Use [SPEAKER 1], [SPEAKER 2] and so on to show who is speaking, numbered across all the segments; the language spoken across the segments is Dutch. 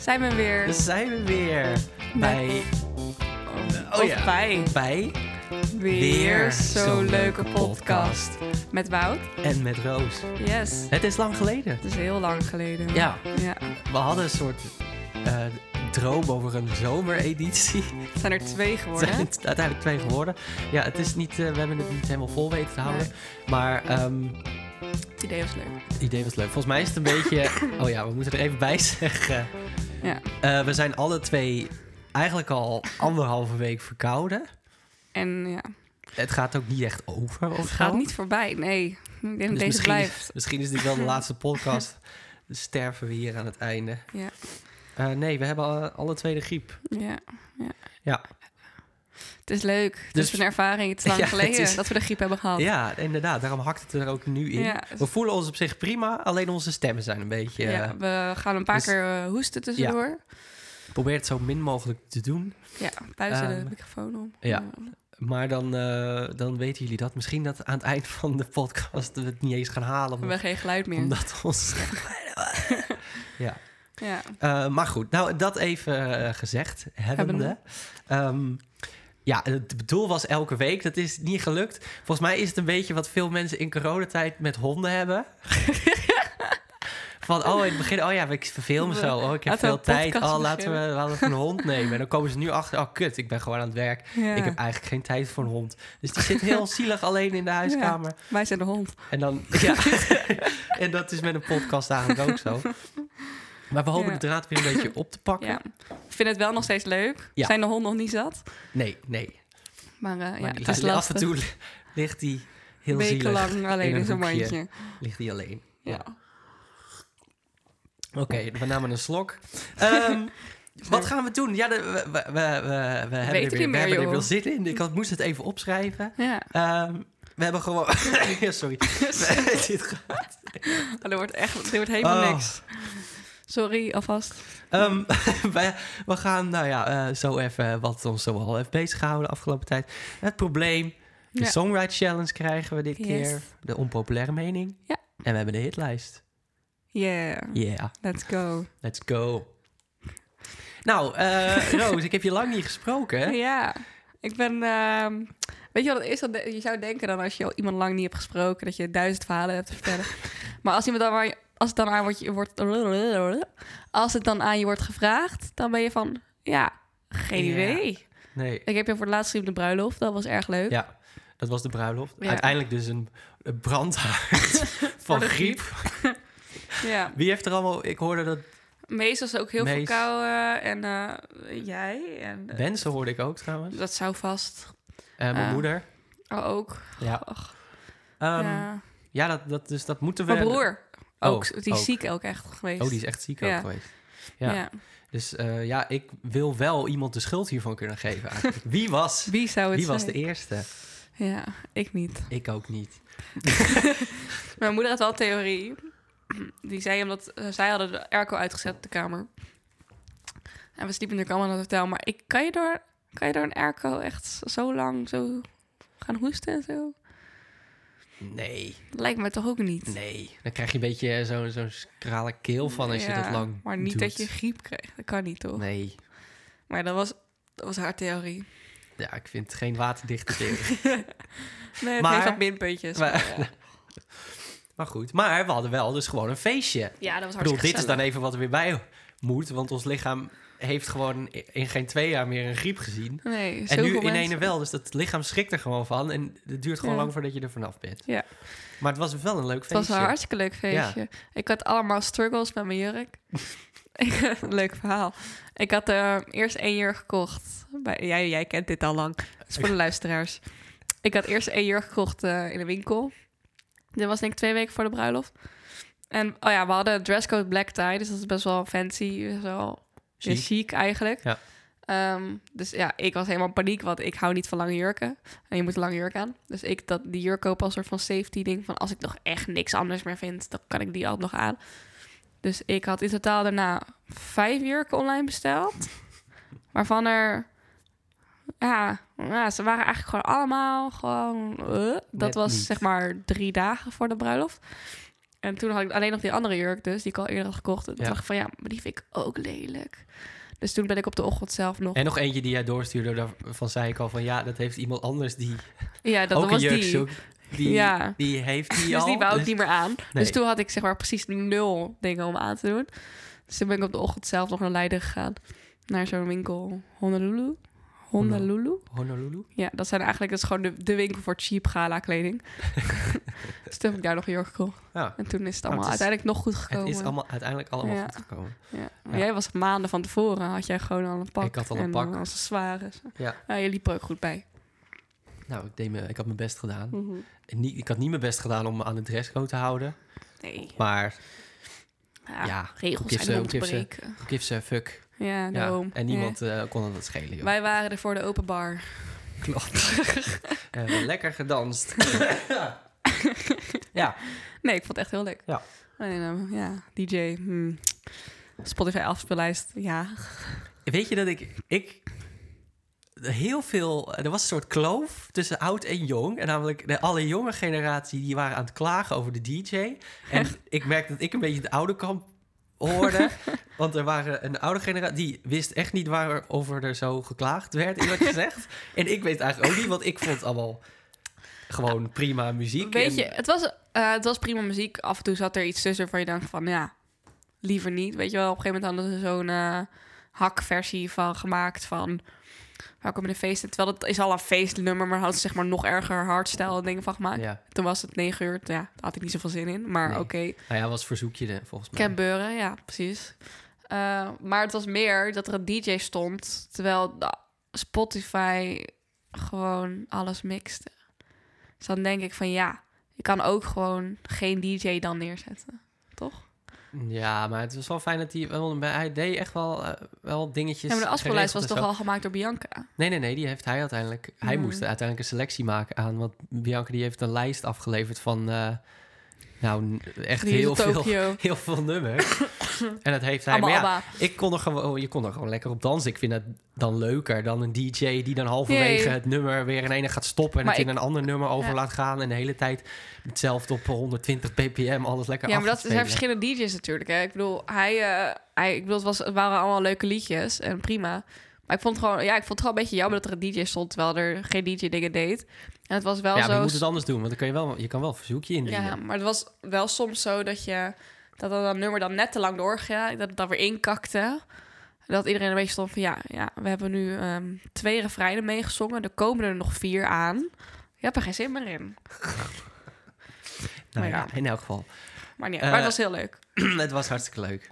[SPEAKER 1] Zijn we weer
[SPEAKER 2] Dan zijn we weer bij,
[SPEAKER 1] bij-
[SPEAKER 2] oh
[SPEAKER 1] of
[SPEAKER 2] ja.
[SPEAKER 1] bij
[SPEAKER 2] bij
[SPEAKER 1] weer, zo'n leuke podcast. met Wout?
[SPEAKER 2] En met Roos.
[SPEAKER 1] Yes,
[SPEAKER 2] Het is lang geleden.
[SPEAKER 1] het is heel lang geleden.
[SPEAKER 2] Ja,
[SPEAKER 1] ja.
[SPEAKER 2] we hadden een soort eh, droom over een zomereditie.
[SPEAKER 1] Het zijn er twee
[SPEAKER 2] Het
[SPEAKER 1] geworden.
[SPEAKER 2] zijn het uiteindelijk twee geworden. Ja, het is niet, eh, we hebben het niet helemaal vol weten te houden. Maar ehm,
[SPEAKER 1] Het idee was leuk.
[SPEAKER 2] het idee was leuk. Volgens mij is het een beetje... Oh ja, we moeten er even bij zeggen.
[SPEAKER 1] Ja.
[SPEAKER 2] Eh, we zijn alle twee eigenlijk al anderhalve week verkouden.
[SPEAKER 1] En ja,
[SPEAKER 2] Het gaat ook niet echt over of
[SPEAKER 1] het
[SPEAKER 2] zo.
[SPEAKER 1] gaat niet voorbij. Nee, ik denk dat
[SPEAKER 2] Dus
[SPEAKER 1] deze
[SPEAKER 2] misschien,
[SPEAKER 1] blijft.
[SPEAKER 2] Misschien is dit wel de laatste podcast. Dus sterven we hier aan het einde.
[SPEAKER 1] Ja.
[SPEAKER 2] Eh, nee, we hebben alle, alle twee de griep.
[SPEAKER 1] Ja, ja.
[SPEAKER 2] Ja.
[SPEAKER 1] Het is leuk. Het
[SPEAKER 2] Dus-
[SPEAKER 1] is een ervaring. Het is lang
[SPEAKER 2] Ja, het
[SPEAKER 1] geleden
[SPEAKER 2] is-
[SPEAKER 1] dat we de griep hebben gehad.
[SPEAKER 2] Ja, inderdaad. Daarom hakt het er ook nu in.
[SPEAKER 1] Oh. Ja.
[SPEAKER 2] We voelen ons op zich prima, alleen onze stemmen zijn een beetje... eh,
[SPEAKER 1] Ja, we gaan een paar
[SPEAKER 2] Dus-
[SPEAKER 1] keer eh, hoesten tussendoor.
[SPEAKER 2] probeer het zo min mogelijk te doen.
[SPEAKER 1] Ja, buiten de
[SPEAKER 2] Ehm,
[SPEAKER 1] microfoon om.
[SPEAKER 2] ja. Maar dan, eh, dan weten jullie dat. Misschien dat aan het eind van de podcast we het niet eens gaan halen.
[SPEAKER 1] We hebben
[SPEAKER 2] Omdat,
[SPEAKER 1] geen geluid meer.
[SPEAKER 2] omdat ons... ja.
[SPEAKER 1] Ja.
[SPEAKER 2] Eh, maar goed, nou dat even eh, gezegd hebbende.
[SPEAKER 1] Hebbende.
[SPEAKER 2] Ehm, ja, het doel was elke week. Dat is niet gelukt. Volgens mij is het een beetje wat veel mensen in coronatijd met honden hebben. Van, oh, in het begin, oh ja, ik verveel me
[SPEAKER 1] We-
[SPEAKER 2] zo. Oh, ik
[SPEAKER 1] laten
[SPEAKER 2] heb
[SPEAKER 1] we
[SPEAKER 2] veel
[SPEAKER 1] een
[SPEAKER 2] tijd.
[SPEAKER 1] podcast
[SPEAKER 2] Oh, laten we,
[SPEAKER 1] beginnen.
[SPEAKER 2] laten we een hond nemen. En dan komen ze nu achter, oh kut, ik ben gewoon aan het werk.
[SPEAKER 1] Ja.
[SPEAKER 2] Ik heb eigenlijk geen tijd voor een hond. Dus die zit heel zielig alleen in de huiskamer.
[SPEAKER 1] Wij zijn de hond.
[SPEAKER 2] En dan, ja. en dat is met een podcast eigenlijk ook zo. Maar we hopen
[SPEAKER 1] Ja.
[SPEAKER 2] de draad weer een beetje op te pakken.
[SPEAKER 1] Ja. Ik vind het wel nog steeds leuk.
[SPEAKER 2] Ja.
[SPEAKER 1] Zijn de honden nog niet zat?
[SPEAKER 2] Nee, nee.
[SPEAKER 1] Maar, eh, ja,
[SPEAKER 2] Maar
[SPEAKER 1] het
[SPEAKER 2] die-
[SPEAKER 1] is
[SPEAKER 2] af
[SPEAKER 1] lastig.
[SPEAKER 2] en toe li- ligt hij heel zielig.
[SPEAKER 1] Wekenlang alleen
[SPEAKER 2] in een
[SPEAKER 1] in zo'n
[SPEAKER 2] hoekje.
[SPEAKER 1] mandje.
[SPEAKER 2] Ligt hij alleen. Ja.
[SPEAKER 1] Ja.
[SPEAKER 2] Oké, we namen een slok. Ehm, wat gaan we doen? Ja, de- we, we, we, we, we hebben, er
[SPEAKER 1] niet
[SPEAKER 2] weer, we
[SPEAKER 1] meer,
[SPEAKER 2] hebben er
[SPEAKER 1] joh.
[SPEAKER 2] weer zin in. Ik had, moest het even opschrijven.
[SPEAKER 1] Ja.
[SPEAKER 2] Ehm, we hebben gewoon... Ja, Sorry. Dit gaat-
[SPEAKER 1] Oh, er wordt echt er wordt helemaal
[SPEAKER 2] Oh.
[SPEAKER 1] niks. Sorry, alvast.
[SPEAKER 2] Ehm, wij- we gaan nou ja, eh, zo even wat ons zoal heeft bezig gehouden de afgelopen tijd. Het probleem, de
[SPEAKER 1] Ja.
[SPEAKER 2] Songwrite Challenge krijgen we dit
[SPEAKER 1] Yes.
[SPEAKER 2] keer. De onpopulaire mening.
[SPEAKER 1] Ja. Mm.
[SPEAKER 2] En we hebben de hitlijst.
[SPEAKER 1] Yeah,
[SPEAKER 2] Yeah,
[SPEAKER 1] let's go.
[SPEAKER 2] let's go. Nou, eh, Roos, ik heb je lang niet gesproken. hè?
[SPEAKER 1] Ja, ik ben... ehm, weet je wat het is? Dat de- je zou denken dan als je al iemand lang niet hebt gesproken... dat je duizend verhalen hebt te vertellen. maar als, iemand dan maar, als het dan aan wordt, je wordt... Als het dan aan je wordt gevraagd, dan ben je van... Ja, geen
[SPEAKER 2] Ja.
[SPEAKER 1] idee.
[SPEAKER 2] Nee.
[SPEAKER 1] Ik heb je voor het laatst gezien op de bruiloft. Dat was erg leuk.
[SPEAKER 2] Ja, dat was de bruiloft.
[SPEAKER 1] Ja.
[SPEAKER 2] Uiteindelijk dus een, een brandhaard van
[SPEAKER 1] de griep.
[SPEAKER 2] griep.
[SPEAKER 1] Ja.
[SPEAKER 2] Wie heeft er allemaal... Ik hoorde dat...
[SPEAKER 1] Mees was ook heel veel
[SPEAKER 2] Mees.
[SPEAKER 1] verkouden. En eh, jij. En, eh,
[SPEAKER 2] Wensen hoorde ik ook trouwens.
[SPEAKER 1] dat zou vast
[SPEAKER 2] En mijn
[SPEAKER 1] Ah.
[SPEAKER 2] moeder.
[SPEAKER 1] Oh, ook.
[SPEAKER 2] Ja.
[SPEAKER 1] Ach,
[SPEAKER 2] Ehm, ja,
[SPEAKER 1] ja.
[SPEAKER 2] dat, dat, dus dat moeten we...
[SPEAKER 1] Mijn broer.
[SPEAKER 2] Oh,
[SPEAKER 1] Ook, die
[SPEAKER 2] ook.
[SPEAKER 1] is ziek ook echt geweest.
[SPEAKER 2] Oh, die is echt ziek
[SPEAKER 1] Ja.
[SPEAKER 2] ook geweest. Ja. Dus eh, ja, ik wil wel iemand de schuld hiervan kunnen geven. eigenlijk. Wie was?
[SPEAKER 1] Wie zou het
[SPEAKER 2] Wie was de
[SPEAKER 1] zijn?
[SPEAKER 2] eerste?
[SPEAKER 1] Ja, ik niet.
[SPEAKER 2] Ik ook niet.
[SPEAKER 1] Mijn moeder had wel een theorie. Die zei omdat eh, zij hadden de airco uitgezet op de kamer. En we sliepen natuurlijk allemaal in het hotel. Maar ik, kan, je door, kan je door een airco echt z- zo lang zo gaan hoesten en zo?
[SPEAKER 2] Nee,
[SPEAKER 1] Dat lijkt me toch ook niet.
[SPEAKER 2] nee. Dan krijg je een beetje zo'n zo'n krale keel van als je
[SPEAKER 1] Ja,
[SPEAKER 2] dat lang
[SPEAKER 1] Maar niet
[SPEAKER 2] doet.
[SPEAKER 1] dat je griep krijgt. Dat kan niet, toch?
[SPEAKER 2] Nee.
[SPEAKER 1] Maar dat was, dat was haar theorie.
[SPEAKER 2] Ja, ik vind het geen waterdichte theorie.
[SPEAKER 1] Nee, het
[SPEAKER 2] Maar-
[SPEAKER 1] heeft wat minpuntjes.
[SPEAKER 2] maar, maar goed, maar we hadden wel dus gewoon een feestje.
[SPEAKER 1] Ja, dat was
[SPEAKER 2] Ik bedoel,
[SPEAKER 1] hartstikke
[SPEAKER 2] dit is
[SPEAKER 1] gezellig.
[SPEAKER 2] dan even wat er weer bij moet. Want ons lichaam heeft gewoon in geen twee jaar meer een griep gezien.
[SPEAKER 1] Nee,
[SPEAKER 2] En nu
[SPEAKER 1] zoveel
[SPEAKER 2] in ene
[SPEAKER 1] mensen.
[SPEAKER 2] wel, dus dat lichaam schrikt er gewoon van. En het duurt gewoon
[SPEAKER 1] Ja.
[SPEAKER 2] lang voordat je er vanaf bent.
[SPEAKER 1] Ja.
[SPEAKER 2] Maar het was dus wel een leuk
[SPEAKER 1] Het was
[SPEAKER 2] feestje.
[SPEAKER 1] een hartstikke leuk feestje. Ik had allemaal struggles met mijn jurk. Ik- leuk verhaal. Ik had eh, eerst één jurk gekocht. Bij, jij, jij kent dit al lang. Dat is voor de luisteraars. Ik had eerst één jurk gekocht eh, in de winkel. Dit was denk ik twee weken voor de bruiloft. En oh ja, we hadden dresscode black tie. Dus dat is best wel fancy. Best wel chic,
[SPEAKER 2] Chic.
[SPEAKER 1] chic eigenlijk.
[SPEAKER 2] Ja.
[SPEAKER 1] Ehm, dus ja, ik was helemaal in paniek, want ik hou niet van lange jurken. En je moet een lange jurk aan. Dus ik dat, die jurk koop als soort van safety ding. Van als ik nog echt niks anders meer vind, dan kan ik die altijd nog aan. Dus ik had in totaal daarna vijf jurken online besteld. Waarvan er... Ja, ja, ze waren eigenlijk gewoon allemaal gewoon... eh, dat
[SPEAKER 2] Net
[SPEAKER 1] was
[SPEAKER 2] niet.
[SPEAKER 1] zeg maar drie dagen voor de bruiloft. En En toen had ik alleen nog die andere jurk dus, die ik al eerder had gekocht. En toen
[SPEAKER 2] Ja.
[SPEAKER 1] dacht ik van, ja, maar die vind ik ook lelijk. Dus toen ben ik op de ochtend zelf nog...
[SPEAKER 2] En nog eentje die jij doorstuurde, daarvan zei ik al van ja, dat heeft iemand anders die
[SPEAKER 1] ja, dat
[SPEAKER 2] ook een
[SPEAKER 1] was
[SPEAKER 2] jurk
[SPEAKER 1] die.
[SPEAKER 2] zoekt. Die,
[SPEAKER 1] Ja.
[SPEAKER 2] die heeft die
[SPEAKER 1] Dus
[SPEAKER 2] al.
[SPEAKER 1] die wou ik
[SPEAKER 2] Dus-
[SPEAKER 1] niet meer aan.
[SPEAKER 2] Nee.
[SPEAKER 1] Dus toen had ik zeg maar precies nul dingen om aan te doen. Dus toen ben ik op de ochtend zelf nog naar Leiden gegaan. Naar zo'n winkel Honolulu. Honolulu?
[SPEAKER 2] Honolulu?
[SPEAKER 1] Ja, dat zijn eigenlijk dat is gewoon de, de winkel voor cheap gala kleding. dus toen heb ik daar nog een jurk gekocht.
[SPEAKER 2] Ja. Nou,
[SPEAKER 1] En toen is het allemaal
[SPEAKER 2] het is-
[SPEAKER 1] uiteindelijk nog goed gekomen.
[SPEAKER 2] Het is allemaal, uiteindelijk allemaal
[SPEAKER 1] Ja.
[SPEAKER 2] goed gekomen.
[SPEAKER 1] Ja. Maar
[SPEAKER 2] Ja.
[SPEAKER 1] Jij was maanden van tevoren, had jij gewoon al een pak.
[SPEAKER 2] Ik had al een
[SPEAKER 1] en
[SPEAKER 2] pak.
[SPEAKER 1] accessoires.
[SPEAKER 2] Ja.
[SPEAKER 1] Ja, je liep er ook goed bij.
[SPEAKER 2] Nou, ik, deed me, ik had mijn best gedaan. En niet, ik had niet mijn best gedaan om me aan de dresscode te houden.
[SPEAKER 1] Nee,
[SPEAKER 2] Maar
[SPEAKER 1] ja,
[SPEAKER 2] ja,
[SPEAKER 1] regels
[SPEAKER 2] gifse,
[SPEAKER 1] zijn om te
[SPEAKER 2] gifse.
[SPEAKER 1] breken.
[SPEAKER 2] gives a fuck.
[SPEAKER 1] Ja,
[SPEAKER 2] Ja.
[SPEAKER 1] daarom.
[SPEAKER 2] En
[SPEAKER 1] Ja.
[SPEAKER 2] niemand eh, kon het schelen, joh.
[SPEAKER 1] Wij waren er voor de open bar.
[SPEAKER 2] Klopt. We hebben lekker gedanst. ja,
[SPEAKER 1] Nee, ik vond het echt heel leuk.
[SPEAKER 2] Ja.
[SPEAKER 1] Alleen, ehm, ja, DJ, hmm. Spotify afspeellijst, ja.
[SPEAKER 2] weet je dat ik, ik heel veel... Er was een soort kloof tussen oud en jong. En namelijk de alle jonge generatie die waren aan het klagen over de DJ. En ik merkte dat ik een beetje de oude kamp hoorde. want er waren een oude generatie die wist echt niet waarover er zo geklaagd werd, eerlijk gezegd. en ik weet het eigenlijk ook niet, want ik vond het allemaal gewoon prima muziek.
[SPEAKER 1] Weet
[SPEAKER 2] En-
[SPEAKER 1] je, het was, eh, het was prima muziek. Af en toe zat er iets tussen van je dacht van, ja, liever niet. Weet je wel, op een gegeven moment hadden ze zo'n eh, hakversie van gemaakt van... Welkom in de feesten. Terwijl dat is al een feestnummer, maar hadden ze zeg maar nog erger hardstyle dingen van gemaakt.
[SPEAKER 2] Ja,
[SPEAKER 1] Toen was het negen uur, ja, daar had ik niet zoveel zin in. Maar
[SPEAKER 2] Nee.
[SPEAKER 1] oké,
[SPEAKER 2] nou ja, was verzoekje er, volgens mij.
[SPEAKER 1] Canberra, ja, precies. Eh, maar het was meer dat er een DJ stond, terwijl de Spotify gewoon alles mixte. Dus dan denk ik van ja, je kan ook gewoon geen DJ dan neerzetten, toch?
[SPEAKER 2] Ja, maar het was wel fijn dat hij wel bij hij deed echt wel, eh, wel dingetjes.
[SPEAKER 1] Ja, maar de afspeellijst was
[SPEAKER 2] geregeld en
[SPEAKER 1] toch
[SPEAKER 2] zo.
[SPEAKER 1] al gemaakt door Bianca.
[SPEAKER 2] Nee, nee, nee. Die heeft hij uiteindelijk. Hij
[SPEAKER 1] Hmm.
[SPEAKER 2] moest uiteindelijk een selectie maken aan. Want Bianca die heeft een lijst afgeleverd van. eh, nou, n- echt
[SPEAKER 1] Die is
[SPEAKER 2] heel
[SPEAKER 1] op
[SPEAKER 2] veel,
[SPEAKER 1] Tokio.
[SPEAKER 2] heel veel nummers. en dat heeft hij.
[SPEAKER 1] Allemaal
[SPEAKER 2] maar ja,
[SPEAKER 1] ABBA.
[SPEAKER 2] ik kon er gewoon, oh, je kon er gewoon lekker op dansen. Ik vind dat dan leuker dan een DJ die dan halverwege
[SPEAKER 1] Jee.
[SPEAKER 2] het nummer weer in ene gaat stoppen. En
[SPEAKER 1] Maar
[SPEAKER 2] het in
[SPEAKER 1] ik-
[SPEAKER 2] een ander nummer over
[SPEAKER 1] Ja.
[SPEAKER 2] laat gaan. En de hele tijd hetzelfde op 120 ppm. Alles lekker
[SPEAKER 1] Ja,
[SPEAKER 2] af
[SPEAKER 1] maar dat
[SPEAKER 2] te
[SPEAKER 1] er zijn
[SPEAKER 2] spelen.
[SPEAKER 1] verschillende DJ's natuurlijk. Hè. Ik bedoel, hij, eh, hij, ik bedoel, het, was, het waren allemaal leuke liedjes en prima. Maar ik vond het gewoon, ja, ik vond het gewoon een beetje jammer dat er een DJ stond, terwijl er geen DJ dingen deed. En het was wel
[SPEAKER 2] Ja, maar je
[SPEAKER 1] zo.
[SPEAKER 2] moet het anders doen. Want dan kun je wel, je kan wel een verzoekje indienen. Nou
[SPEAKER 1] Ja, maar het was wel soms zo dat je dat dan dat nummer dan net te lang doorging, dat het dan weer inkakte. Dat iedereen een beetje stond van ja, ja we hebben nu ehm, twee refreinen meegezongen, er komen er nog vier aan. Je hebt er geen zin meer in.
[SPEAKER 2] Nou
[SPEAKER 1] Maar
[SPEAKER 2] ja,
[SPEAKER 1] ja.
[SPEAKER 2] in elk geval.
[SPEAKER 1] Maar, niet,
[SPEAKER 2] Eh,
[SPEAKER 1] maar het was heel leuk.
[SPEAKER 2] het was hartstikke leuk.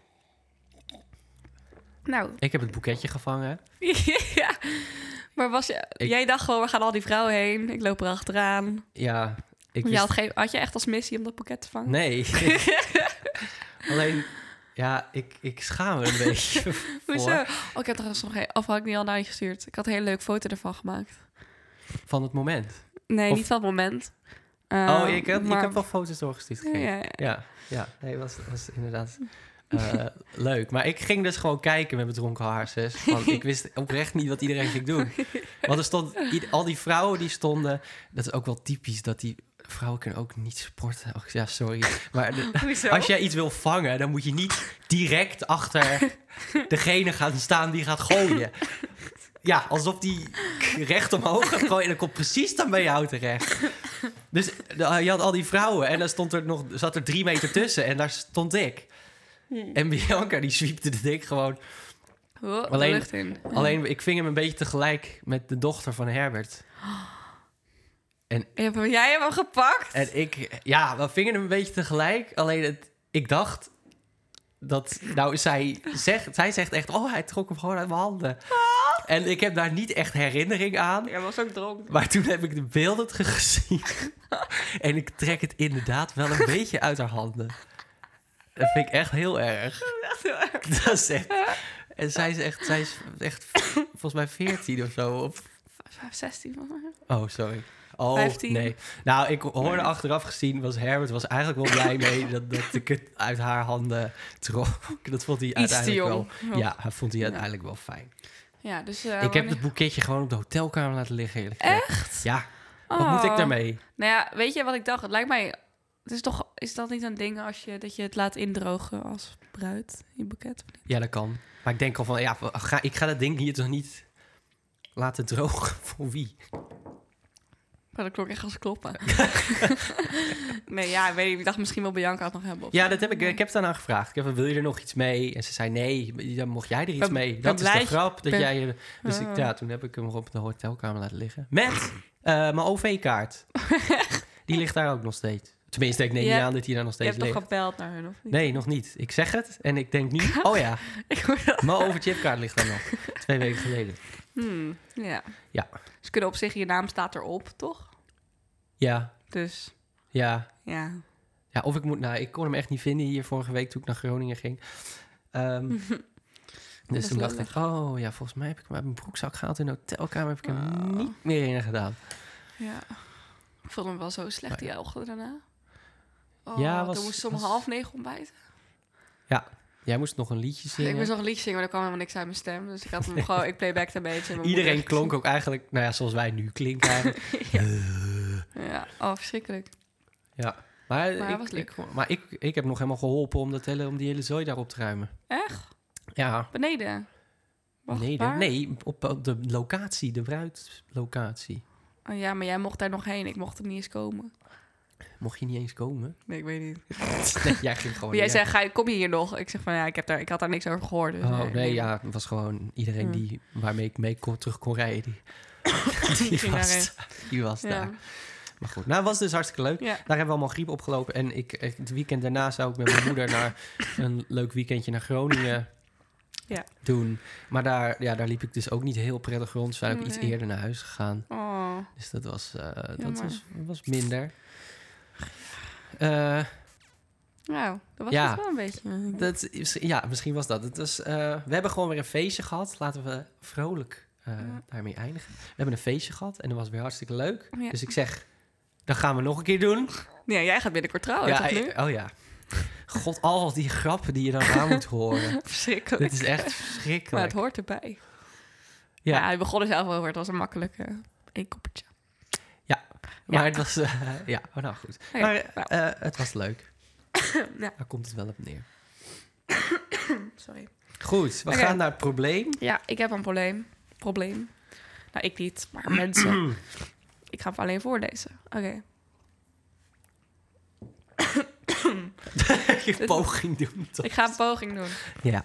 [SPEAKER 1] Nou,
[SPEAKER 2] Ik heb het boeketje gevangen.
[SPEAKER 1] ja. Maar was je,
[SPEAKER 2] Ik-
[SPEAKER 1] jij dacht gewoon, we gaan al die vrouwen heen, ik loop er achteraan.
[SPEAKER 2] Ja, ik
[SPEAKER 1] Je
[SPEAKER 2] wist...
[SPEAKER 1] had, geen, had je echt als missie om dat boeket te vangen?
[SPEAKER 2] Nee. Alleen, ja, ik, ik schaam me een beetje
[SPEAKER 1] Hoezo?
[SPEAKER 2] voor
[SPEAKER 1] Oh, ik heb er nog geen... Of had ik niet al naar je gestuurd? Ik had een hele leuke foto ervan gemaakt.
[SPEAKER 2] van het moment.
[SPEAKER 1] Nee,
[SPEAKER 2] Of-
[SPEAKER 1] niet van het moment.
[SPEAKER 2] oh,
[SPEAKER 1] Eh,
[SPEAKER 2] ik heb,
[SPEAKER 1] maar- Oh,
[SPEAKER 2] ik heb wel foto's doorgestuurd
[SPEAKER 1] Ja,
[SPEAKER 2] gekregen. Ja,
[SPEAKER 1] ja, ja.
[SPEAKER 2] ja. Nee, was, was inderdaad eh, leuk. Maar ik ging dus gewoon kijken met bedronken haarzes. Want ik wist oprecht niet wat iedereen ging doen. Want er stond, ied- al die vrouwen die stonden... Dat is ook wel typisch dat die... Vrouwen kunnen ook niet sporten. Och, ja, sorry. Maar de-
[SPEAKER 1] Hoezo?
[SPEAKER 2] Als jij iets wil vangen, dan moet je niet direct achter degene gaan staan die gaat gooien. Ja, alsof die recht omhoog gaat gooien en dan komt precies dan bij jou terecht. Dus eh, je had al die vrouwen en dan stond er nog, zat er drie meter tussen en daar stond ik. En Bianca die zwiepte de dik gewoon.
[SPEAKER 1] Oh, de
[SPEAKER 2] Alleen-
[SPEAKER 1] lucht in.
[SPEAKER 2] Alleen ik ving hem een beetje tegelijk met de dochter van Herbert.
[SPEAKER 1] Heb- jij hebt hem gepakt?
[SPEAKER 2] En ik, ja, we vingen hem een beetje tegelijk. Alleen het, ik dacht dat, nou, zij zegt, zij zegt echt, oh, hij trok hem gewoon uit mijn handen. En ik heb daar niet echt herinnering aan.
[SPEAKER 1] Ah! Jij was ook dronken.
[SPEAKER 2] Maar toen heb ik de beelden terug gezien. en ik trek het inderdaad wel een beetje uit haar handen. Dat vind ik echt heel erg. Dat is echt, en zij is echt, zij is echt volgens mij 14 of zo. Of
[SPEAKER 1] 16 volgens mij.
[SPEAKER 2] Oh, sorry. Oh,
[SPEAKER 1] 15.
[SPEAKER 2] nee. Nou, ik hoorde achteraf gezien, was Herbert was eigenlijk wel blij mee dat, dat ik het uit haar handen trok. Dat vond hij
[SPEAKER 1] Iets te
[SPEAKER 2] uiteindelijk
[SPEAKER 1] jong.
[SPEAKER 2] wel... Ja, hij vond hij uiteindelijk wel fijn.
[SPEAKER 1] Ja, dus... eh,
[SPEAKER 2] ik heb het
[SPEAKER 1] wanneer-
[SPEAKER 2] boeketje gewoon op de hotelkamer laten liggen, eerlijk gezegd.
[SPEAKER 1] Echt?
[SPEAKER 2] Ja, wat moet ik
[SPEAKER 1] Oh.
[SPEAKER 2] daarmee?
[SPEAKER 1] Nou ja, weet je wat ik dacht? Het lijkt mij Het is toch, is dat niet een ding als je, dat je het laat indrogen als bruid, je boeket?
[SPEAKER 2] Ja, dat kan. Maar ik denk al van, ja, ga, ik ga dat ding hier toch niet laten drogen? Voor wie?
[SPEAKER 1] Maar Oh, dat klonk echt als kloppen. nee, ja, ik weet niet. Ik dacht misschien wel Bianca het nog hebben. of eh,
[SPEAKER 2] Ja,
[SPEAKER 1] zo.
[SPEAKER 2] dat heb ik,
[SPEAKER 1] Nee.
[SPEAKER 2] ik heb het aan haar gevraagd. Ik heb wil je er nog iets mee? En ze zei, nee, dan mocht jij er iets
[SPEAKER 1] ben-
[SPEAKER 2] mee.
[SPEAKER 1] ben
[SPEAKER 2] Dat is
[SPEAKER 1] blij-
[SPEAKER 2] de grap, dat
[SPEAKER 1] ben-
[SPEAKER 2] jij... je- Dus ik,
[SPEAKER 1] Ah.
[SPEAKER 2] ja, toen heb ik hem op de hotelkamer laten liggen. Met eh, mijn OV-kaart. die ligt daar ook nog steeds. Tenminste, ik neem
[SPEAKER 1] Je
[SPEAKER 2] niet
[SPEAKER 1] hebt-
[SPEAKER 2] aan dat die daar nog
[SPEAKER 1] Je
[SPEAKER 2] steeds
[SPEAKER 1] hebt
[SPEAKER 2] ligt.
[SPEAKER 1] toch gebeld naar hun, of niet?
[SPEAKER 2] Nee, nog niet. Ik zeg het en ik denk niet... Oh ja,
[SPEAKER 1] Ik hoor dat.
[SPEAKER 2] mijn overchipkaart ligt daar nog. Twee weken geleden.
[SPEAKER 1] Hmm, ja.
[SPEAKER 2] Ja.
[SPEAKER 1] Ze kunnen op zich, je naam staat erop, toch?
[SPEAKER 2] Ja,
[SPEAKER 1] Dus,
[SPEAKER 2] ja.
[SPEAKER 1] ja.
[SPEAKER 2] Ja, of ik moet... Nou, ik kon hem echt niet vinden hier vorige week toen ik naar Groningen ging. Ehm,
[SPEAKER 1] Dat
[SPEAKER 2] dus
[SPEAKER 1] is
[SPEAKER 2] toen dacht
[SPEAKER 1] lullig.
[SPEAKER 2] ik, oh ja, volgens mij heb ik hem uit mijn broekzak gehaald. In de hotelkamer heb ik hem
[SPEAKER 1] Oh.
[SPEAKER 2] niet meer in gedaan.
[SPEAKER 1] Ja. Ik vond hem wel zo slecht die ochtend daarna. Oh,
[SPEAKER 2] Ja, was-
[SPEAKER 1] toen moest ze om
[SPEAKER 2] was-
[SPEAKER 1] half negen ontbijten.
[SPEAKER 2] Jij moest nog een liedje
[SPEAKER 1] Ik
[SPEAKER 2] zingen.
[SPEAKER 1] moest nog een liedje zingen, maar er kwam helemaal niks uit mijn stem. Dus ik had hem gewoon, ik playbackte een beetje. en mijn
[SPEAKER 2] Iedereen
[SPEAKER 1] moeder-
[SPEAKER 2] klonk ook eigenlijk, nou ja, zoals wij nu klinken eigenlijk.
[SPEAKER 1] Ja, oh, verschrikkelijk.
[SPEAKER 2] ja. Maar,
[SPEAKER 1] Maar hij
[SPEAKER 2] ik,
[SPEAKER 1] was leuk.
[SPEAKER 2] Ik, maar ik, ik heb nog helemaal geholpen om, dat hele, om die hele zooi daarop te ruimen.
[SPEAKER 1] Echt?
[SPEAKER 2] Ja,
[SPEAKER 1] Beneden? Wacht,
[SPEAKER 2] nee,
[SPEAKER 1] waar?
[SPEAKER 2] nee op, op de locatie, de bruidlocatie.
[SPEAKER 1] Oh, ja, maar jij mocht daar nog heen. Ik mocht er niet eens komen.
[SPEAKER 2] Mocht je niet eens komen.
[SPEAKER 1] Nee, ik weet niet.
[SPEAKER 2] nee, jij ging gewoon.
[SPEAKER 1] Maar jij
[SPEAKER 2] Oh, ja.
[SPEAKER 1] zei, ga, je- kom je hier nog? Ik zeg van, ja, ik, heb daar, ik had daar niks over gehoord. Dus
[SPEAKER 2] Oh nee,
[SPEAKER 1] nee.
[SPEAKER 2] ja, het was gewoon iedereen
[SPEAKER 1] Hmm.
[SPEAKER 2] die, waarmee ik mee kon, terug kon rijden. Die,
[SPEAKER 1] Die
[SPEAKER 2] die,
[SPEAKER 1] ging daarheen.
[SPEAKER 2] was, die was daar.
[SPEAKER 1] Ja.
[SPEAKER 2] Maar goed, nou, het was dus hartstikke leuk.
[SPEAKER 1] Ja.
[SPEAKER 2] Daar hebben we allemaal griep opgelopen. En ik, ik- het weekend daarna zou ik met mijn moeder naar een leuk weekendje naar Groningen
[SPEAKER 1] Ja.
[SPEAKER 2] doen. Maar daar, ja, daar liep ik dus ook niet heel prettig rond. Dus daar heb ik iets
[SPEAKER 1] Nee.
[SPEAKER 2] eerder naar huis gegaan.
[SPEAKER 1] Oh,
[SPEAKER 2] Dus dat was, eh, dat
[SPEAKER 1] Jammer.
[SPEAKER 2] was, was minder. Eh,
[SPEAKER 1] nou, dat was
[SPEAKER 2] Ja.
[SPEAKER 1] dus wel een beetje...
[SPEAKER 2] dat, is- ja, misschien was dat. Het was, eh, we hebben gewoon weer een feestje gehad. Laten we vrolijk eh,
[SPEAKER 1] Ja.
[SPEAKER 2] daarmee eindigen. We hebben een feestje gehad en dat was weer hartstikke leuk.
[SPEAKER 1] Ja.
[SPEAKER 2] Dus ik zeg, dat gaan we nog een keer doen.
[SPEAKER 1] Ja, jij gaat binnenkort trouwen,
[SPEAKER 2] ja,
[SPEAKER 1] toch nu?
[SPEAKER 2] eh, oh ja. God, al die grappen die je dan aan moet horen.
[SPEAKER 1] Verschrikkelijk.
[SPEAKER 2] Dit is echt
[SPEAKER 1] Maar
[SPEAKER 2] verschrikkelijk.
[SPEAKER 1] het hoort erbij. Ja,
[SPEAKER 2] ja,
[SPEAKER 1] hij begon er zelf over. Het was een makkelijke één koppertje.
[SPEAKER 2] maar het was... eh, ja, oh, nou goed.
[SPEAKER 1] Oké,
[SPEAKER 2] maar eh,
[SPEAKER 1] nou.
[SPEAKER 2] eh, het was leuk.
[SPEAKER 1] Ja.
[SPEAKER 2] Daar komt het wel op neer.
[SPEAKER 1] Sorry.
[SPEAKER 2] Goed, we
[SPEAKER 1] Oké.
[SPEAKER 2] gaan naar het probleem.
[SPEAKER 1] Ja, ik heb een probleem. Probleem. Nou, ik niet, maar mensen. ik ga hem alleen voorlezen. Oké.
[SPEAKER 2] Je poging doen, toch?
[SPEAKER 1] Ik ga een poging doen.
[SPEAKER 2] Ja.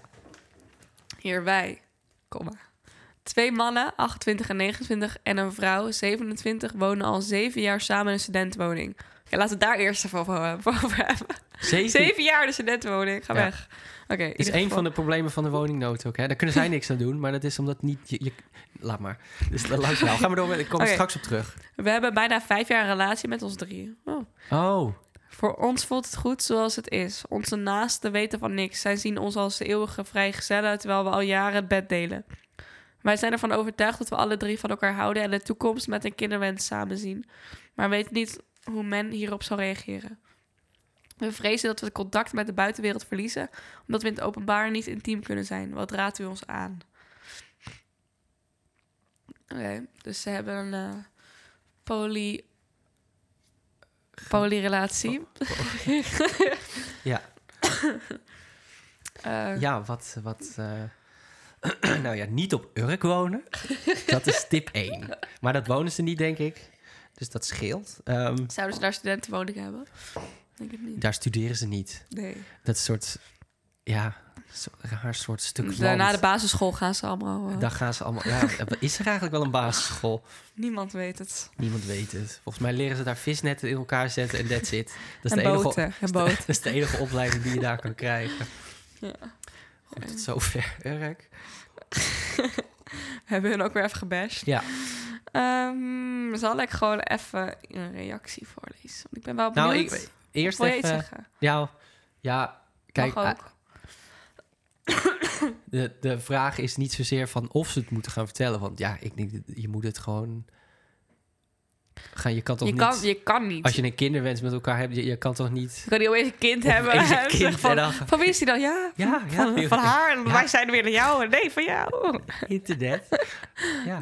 [SPEAKER 1] Hierbij, komma. Twee mannen, 28 en 29, en een vrouw, 27, wonen al zeven jaar samen in een studentenwoning. Oké, laten we het daar eerst even over over hebben.
[SPEAKER 2] Zeven,
[SPEAKER 1] Zeven jaar in een studentenwoning, ga
[SPEAKER 2] Ja.
[SPEAKER 1] weg. Oké, in
[SPEAKER 2] is
[SPEAKER 1] ieder
[SPEAKER 2] een
[SPEAKER 1] geval-
[SPEAKER 2] van de problemen van de woningnood ook. Hè? Daar kunnen zij niks aan doen, maar dat is omdat niet... Je, je- laat maar. Dus dat laat nou. Ga maar door, met- ik kom er
[SPEAKER 1] Oké.
[SPEAKER 2] straks op terug.
[SPEAKER 1] We hebben bijna vijf jaar een relatie met ons drieën. Oh.
[SPEAKER 2] Oh,
[SPEAKER 1] Voor ons voelt het goed zoals het is. Onze naasten weten van niks. Zij zien ons als de eeuwige vrijgezellen, terwijl we al jaren het bed delen. Wij zijn ervan overtuigd dat we alle drie van elkaar houden en de toekomst met een kinderwens samen zien. Maar weten niet hoe men hierop zal reageren. We vrezen dat we contact met de buitenwereld verliezen, omdat we in het openbaar niet intiem kunnen zijn. Wat raadt u ons aan? Oké, dus ze hebben een eh, poly... polyrelatie.
[SPEAKER 2] Oh, ja.
[SPEAKER 1] Eh,
[SPEAKER 2] Ja, wat... wat eh, nou ja, niet op Urk wonen. dat is tip 1. Maar dat wonen ze niet, denk ik. Dus dat scheelt. Ehm,
[SPEAKER 1] Zouden ze daar studentenwoningen hebben? Denk het niet.
[SPEAKER 2] daar studeren ze niet.
[SPEAKER 1] Nee.
[SPEAKER 2] Dat soort... Ja, zo, raar soort stuk land.
[SPEAKER 1] Dus na de basisschool gaan ze allemaal... eh,
[SPEAKER 2] Daar gaan ze allemaal... Ja, is er eigenlijk wel een basisschool?
[SPEAKER 1] niemand weet het.
[SPEAKER 2] Niemand weet het. Volgens mij leren ze daar visnetten in elkaar zetten en that's it. Dat is,
[SPEAKER 1] en
[SPEAKER 2] de enige,
[SPEAKER 1] boten. En
[SPEAKER 2] dat
[SPEAKER 1] boten.
[SPEAKER 2] is de enige opleiding die je daar kan krijgen.
[SPEAKER 1] Ja.
[SPEAKER 2] Goed, tot zover, Urk.
[SPEAKER 1] We hebben hun ook weer even gebashed.
[SPEAKER 2] Ja.
[SPEAKER 1] Ehm, zal ik gewoon even een reactie voorlezen? Want ik ben wel benieuwd.
[SPEAKER 2] Nou, ik,
[SPEAKER 1] Of
[SPEAKER 2] eerst
[SPEAKER 1] wil je iets
[SPEAKER 2] even...
[SPEAKER 1] zeggen?
[SPEAKER 2] Ja, ja kijk, eh, ah,
[SPEAKER 1] Mag ook.
[SPEAKER 2] De, de vraag is niet zozeer van of ze het moeten gaan vertellen. Want ja, ik denk, dat je moet het gewoon... Ga, je kan toch
[SPEAKER 1] Je
[SPEAKER 2] niet...
[SPEAKER 1] kan, je kan niet.
[SPEAKER 2] Als je een kinderwens met elkaar hebt, je, je kan toch niet...
[SPEAKER 1] Je kan niet opeens een kind hebben.
[SPEAKER 2] Opeens een
[SPEAKER 1] en
[SPEAKER 2] kind
[SPEAKER 1] zeggen van,
[SPEAKER 2] en dan-
[SPEAKER 1] van wie is die dan? Ja,
[SPEAKER 2] Ja, ja.
[SPEAKER 1] van, van haar. En
[SPEAKER 2] Ja.
[SPEAKER 1] Wij zijn weer naar jou. En Nee, van jou.
[SPEAKER 2] Internet. Ja,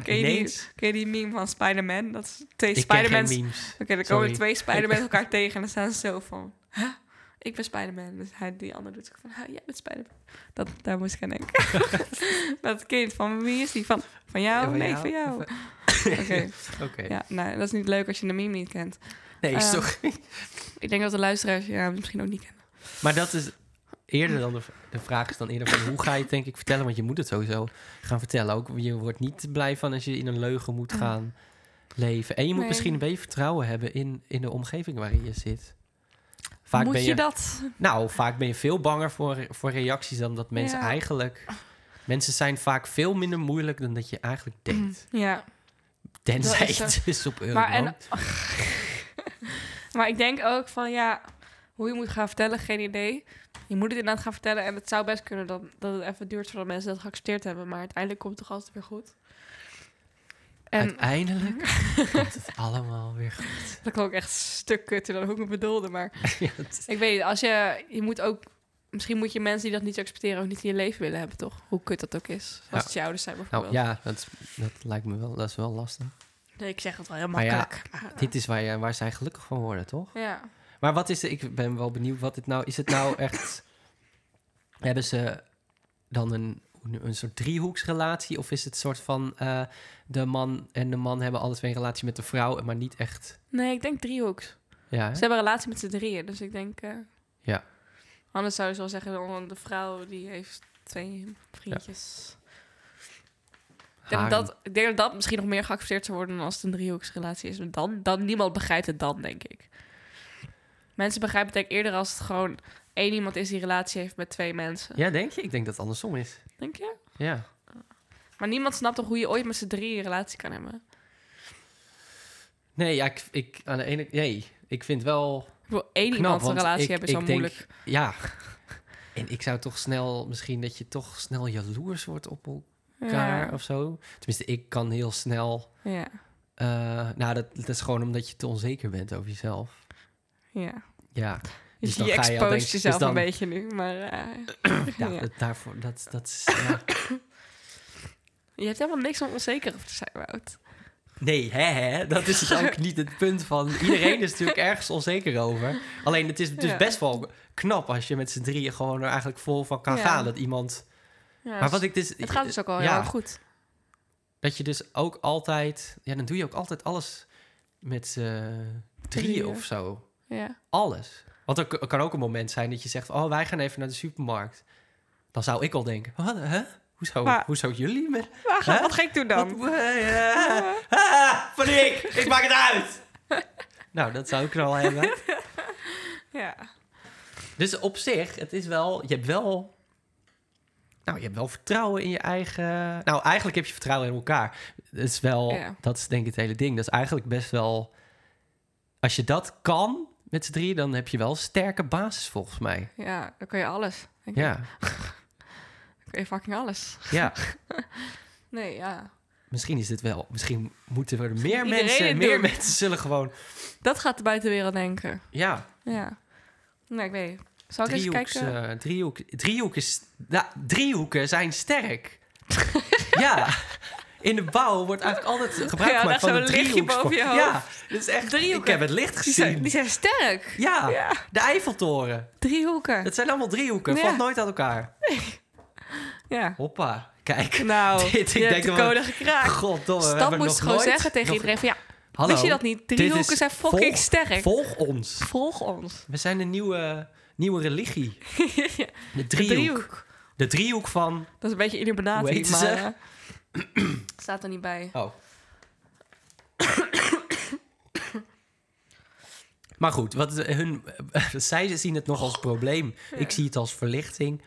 [SPEAKER 1] Ken je, die,
[SPEAKER 2] ineens.
[SPEAKER 1] ken je die meme van Spider-Man? Dat is twee
[SPEAKER 2] Ik ken geen
[SPEAKER 1] Spider-Mans.
[SPEAKER 2] memes.
[SPEAKER 1] Oké, dan komen
[SPEAKER 2] Sorry.
[SPEAKER 1] twee Spider-Mans elkaar tegen en dan staan ze zo van... "Huh? Ik ben Spider-Man. Dus hij, die ander doet zo van... "Huh, Jij bent Spider-Man. Dat, daar moest ik aan denken. dat kind van wie is die? Van, van jou?
[SPEAKER 2] Ja, van
[SPEAKER 1] nee,
[SPEAKER 2] jou.
[SPEAKER 1] van jou. Oké,
[SPEAKER 2] Oké.
[SPEAKER 1] ja, nou, dat is niet leuk als je de meme niet kent.
[SPEAKER 2] Nee,
[SPEAKER 1] Ehm,
[SPEAKER 2] sorry.
[SPEAKER 1] Ik denk dat de luisteraars je naam misschien ook niet kennen.
[SPEAKER 2] Maar dat is eerder dan de, v- de vraag is dan eerder van hoe ga je het denk ik vertellen? Want je moet het sowieso gaan vertellen. Ook je wordt niet blij van als je in een leugen moet gaan leven. En je moet
[SPEAKER 1] Mm. Nee.
[SPEAKER 2] misschien een beetje vertrouwen hebben in, in de omgeving waarin je zit. Vaak
[SPEAKER 1] Moet
[SPEAKER 2] ben
[SPEAKER 1] je,
[SPEAKER 2] je,
[SPEAKER 1] dat?
[SPEAKER 2] Nou, vaak ben je veel banger voor, voor reacties dan dat mensen
[SPEAKER 1] Ja.
[SPEAKER 2] eigenlijk. Mensen zijn vaak veel minder moeilijk dan dat je eigenlijk denkt.
[SPEAKER 1] Ja.
[SPEAKER 2] Tenzij
[SPEAKER 1] Mm. is zo.
[SPEAKER 2] het is op
[SPEAKER 1] Maar,
[SPEAKER 2] Euroland.
[SPEAKER 1] en, maar ik denk ook van ja, hoe je moet gaan vertellen, geen idee. Je moet het inderdaad gaan vertellen en het zou best kunnen dat, dat het even duurt voordat mensen dat geaccepteerd hebben. Maar uiteindelijk komt het toch altijd weer goed. En
[SPEAKER 2] Uiteindelijk komt het allemaal weer goed.
[SPEAKER 1] dat klonk echt een stuk kutter dan hoe ik het bedoelde. Maar
[SPEAKER 2] Ja, het-
[SPEAKER 1] ik weet niet, als je, je moet ook, misschien moet je mensen die dat niet accepteren ook niet in je leven willen hebben, toch? Hoe kut dat ook is. Als
[SPEAKER 2] Ja.
[SPEAKER 1] het je ouders zijn bijvoorbeeld.
[SPEAKER 2] nou ja, dat, is- dat lijkt me wel, dat is wel lastig.
[SPEAKER 1] Nee, ik zeg het wel heel
[SPEAKER 2] Maar ja,
[SPEAKER 1] makkelijk. Maar,
[SPEAKER 2] Dit is waar, je- waar zij gelukkig van worden, toch?
[SPEAKER 1] ja.
[SPEAKER 2] Maar wat is er, ik ben wel benieuwd, wat dit nou, is het nou echt, hebben ze dan een, een soort driehoeksrelatie? Of is het soort van eh, de man en de man hebben alle twee een relatie met de vrouw, maar niet echt,
[SPEAKER 1] Nee, ik denk driehoeks.
[SPEAKER 2] ja,
[SPEAKER 1] Ze
[SPEAKER 2] hè?
[SPEAKER 1] hebben een relatie met z'n drieën, dus ik denk... eh,
[SPEAKER 2] Ja.
[SPEAKER 1] Anders zou je zo zeggen, oh, de vrouw die heeft twee vriendjes. Ik, denk
[SPEAKER 2] Haar-
[SPEAKER 1] dat, ik denk dat dat misschien nog meer geaccepteerd zou worden dan als het een driehoeksrelatie is. Want Dan, dan, niemand begrijpt het dan, denk ik. Mensen begrijpen het denk ik eerder als het gewoon één iemand is die relatie heeft met twee mensen.
[SPEAKER 2] Ja, denk je? Ik denk dat het andersom is.
[SPEAKER 1] Denk je?
[SPEAKER 2] Ja.
[SPEAKER 1] Maar niemand snapt toch hoe je ooit met z'n drieën een relatie kan hebben.
[SPEAKER 2] Nee, ja, ik, ik aan de ene, nee, ik vind wel
[SPEAKER 1] Ik wil één
[SPEAKER 2] knap,
[SPEAKER 1] iemand een
[SPEAKER 2] want
[SPEAKER 1] relatie
[SPEAKER 2] ik-
[SPEAKER 1] hebben
[SPEAKER 2] ik
[SPEAKER 1] is zo
[SPEAKER 2] denk-
[SPEAKER 1] moeilijk.
[SPEAKER 2] Ja. En ik zou toch snel, misschien dat je toch snel jaloers wordt op elkaar
[SPEAKER 1] Ja.
[SPEAKER 2] of zo. Tenminste, ik kan heel snel.
[SPEAKER 1] Ja.
[SPEAKER 2] eh, nou, dat, dat is gewoon omdat je te onzeker bent over jezelf.
[SPEAKER 1] ja.
[SPEAKER 2] Ja,
[SPEAKER 1] Dus,
[SPEAKER 2] Dus dan
[SPEAKER 1] je
[SPEAKER 2] ga je al
[SPEAKER 1] exposeert
[SPEAKER 2] denken- dus
[SPEAKER 1] jezelf
[SPEAKER 2] dan-
[SPEAKER 1] een beetje nu, maar... eh,
[SPEAKER 2] ja,
[SPEAKER 1] Ja.
[SPEAKER 2] Dat, daarvoor, dat, dat is. ja.
[SPEAKER 1] Je hebt helemaal niks om onzeker over te zijn, Wout.
[SPEAKER 2] Nee, hè, hè, dat is dus ook niet het punt van. Iedereen is natuurlijk ergens onzeker over. Alleen het is dus
[SPEAKER 1] Ja.
[SPEAKER 2] best wel knap als je met z'n drieën gewoon er eigenlijk vol van kan
[SPEAKER 1] Ja.
[SPEAKER 2] gaan. Dat iemand.
[SPEAKER 1] Ja,
[SPEAKER 2] maar
[SPEAKER 1] dus
[SPEAKER 2] wat ik dus.
[SPEAKER 1] het gaat dus ook al
[SPEAKER 2] ja.
[SPEAKER 1] heel goed.
[SPEAKER 2] Dat je dus ook altijd... Ja, dan doe je ook altijd alles met z'n drieën
[SPEAKER 1] Drieën.
[SPEAKER 2] of zo.
[SPEAKER 1] Ja.
[SPEAKER 2] Alles. Want er, k- er kan ook een moment zijn dat je zegt... Oh, wij gaan even naar de supermarkt. Dan zou ik al denken... Wat, hè? Hoezo,
[SPEAKER 1] Maar-
[SPEAKER 2] hoezo jullie met... Hè?
[SPEAKER 1] Wat ga ik doen dan?
[SPEAKER 2] Wat, eh, ah, van ik! Ik maak het uit! nou, dat zou ik er al hebben.
[SPEAKER 1] Ja.
[SPEAKER 2] Dus op zich, het is wel... Je hebt wel... Nou, je hebt wel vertrouwen in je eigen... Nou, eigenlijk heb je vertrouwen in elkaar. Dat is wel...
[SPEAKER 1] Ja.
[SPEAKER 2] Dat is denk ik het hele ding. Dat is eigenlijk best wel... Als je dat kan met z'n drieën, dan heb je wel een sterke basis volgens mij.
[SPEAKER 1] ja, dan kan je alles. denk ik.
[SPEAKER 2] Ja,
[SPEAKER 1] Dan kan je fucking alles.
[SPEAKER 2] ja.
[SPEAKER 1] Nee, ja. Misschien
[SPEAKER 2] Misschien is dit wel... Misschien moeten er meer
[SPEAKER 1] iedereen
[SPEAKER 2] mensen...
[SPEAKER 1] het
[SPEAKER 2] Meer
[SPEAKER 1] doen.
[SPEAKER 2] mensen zullen gewoon...
[SPEAKER 1] Dat gaat de buitenwereld denken.
[SPEAKER 2] Ja,
[SPEAKER 1] Ja. Nee, ik weet niet. Zal ik eens
[SPEAKER 2] driehoeks,
[SPEAKER 1] kijken?
[SPEAKER 2] eh, driehoek, driehoek is, ja, driehoeken zijn sterk. ja. In de bouw wordt eigenlijk altijd gebruik
[SPEAKER 1] Ja,
[SPEAKER 2] gemaakt
[SPEAKER 1] daar
[SPEAKER 2] van een
[SPEAKER 1] zo'n lichtje
[SPEAKER 2] driehoeksvorm.
[SPEAKER 1] boven je hoofd.
[SPEAKER 2] Ja, dat is echt...
[SPEAKER 1] Driehoeken.
[SPEAKER 2] Ik heb het licht
[SPEAKER 1] Die
[SPEAKER 2] gezien.
[SPEAKER 1] zijn, die zijn sterk.
[SPEAKER 2] Ja,
[SPEAKER 1] Ja.
[SPEAKER 2] de Eiffeltoren.
[SPEAKER 1] Driehoeken.
[SPEAKER 2] Het zijn allemaal driehoeken.
[SPEAKER 1] Ja.
[SPEAKER 2] Valt nooit uit elkaar.
[SPEAKER 1] Ja.
[SPEAKER 2] Hoppa. Kijk.
[SPEAKER 1] Nou,
[SPEAKER 2] Dit- ik
[SPEAKER 1] je
[SPEAKER 2] denk
[SPEAKER 1] hebt de
[SPEAKER 2] dat we-
[SPEAKER 1] code gekraakt.
[SPEAKER 2] Goddomme. we
[SPEAKER 1] Stap
[SPEAKER 2] hebben
[SPEAKER 1] moest
[SPEAKER 2] nog
[SPEAKER 1] gewoon
[SPEAKER 2] nooit-
[SPEAKER 1] zeggen tegen
[SPEAKER 2] nog-
[SPEAKER 1] iedereen van ja,
[SPEAKER 2] Hallo,
[SPEAKER 1] wist je dat niet?
[SPEAKER 2] dit
[SPEAKER 1] Driehoeken
[SPEAKER 2] is-
[SPEAKER 1] zijn fucking
[SPEAKER 2] volg-
[SPEAKER 1] sterk.
[SPEAKER 2] Volg ons.
[SPEAKER 1] Volg ons.
[SPEAKER 2] We zijn een nieuwe, nieuwe religie.
[SPEAKER 1] Ja,
[SPEAKER 2] De
[SPEAKER 1] de
[SPEAKER 2] driehoek. De driehoek van...
[SPEAKER 1] Dat is een beetje
[SPEAKER 2] Hoe
[SPEAKER 1] Illuminati,
[SPEAKER 2] heet
[SPEAKER 1] maar...
[SPEAKER 2] ze?
[SPEAKER 1] eh, staat er niet bij.
[SPEAKER 2] Oh. maar goed, wat eh, hun, zij zien het nog als probleem. Ik zie het als verlichting.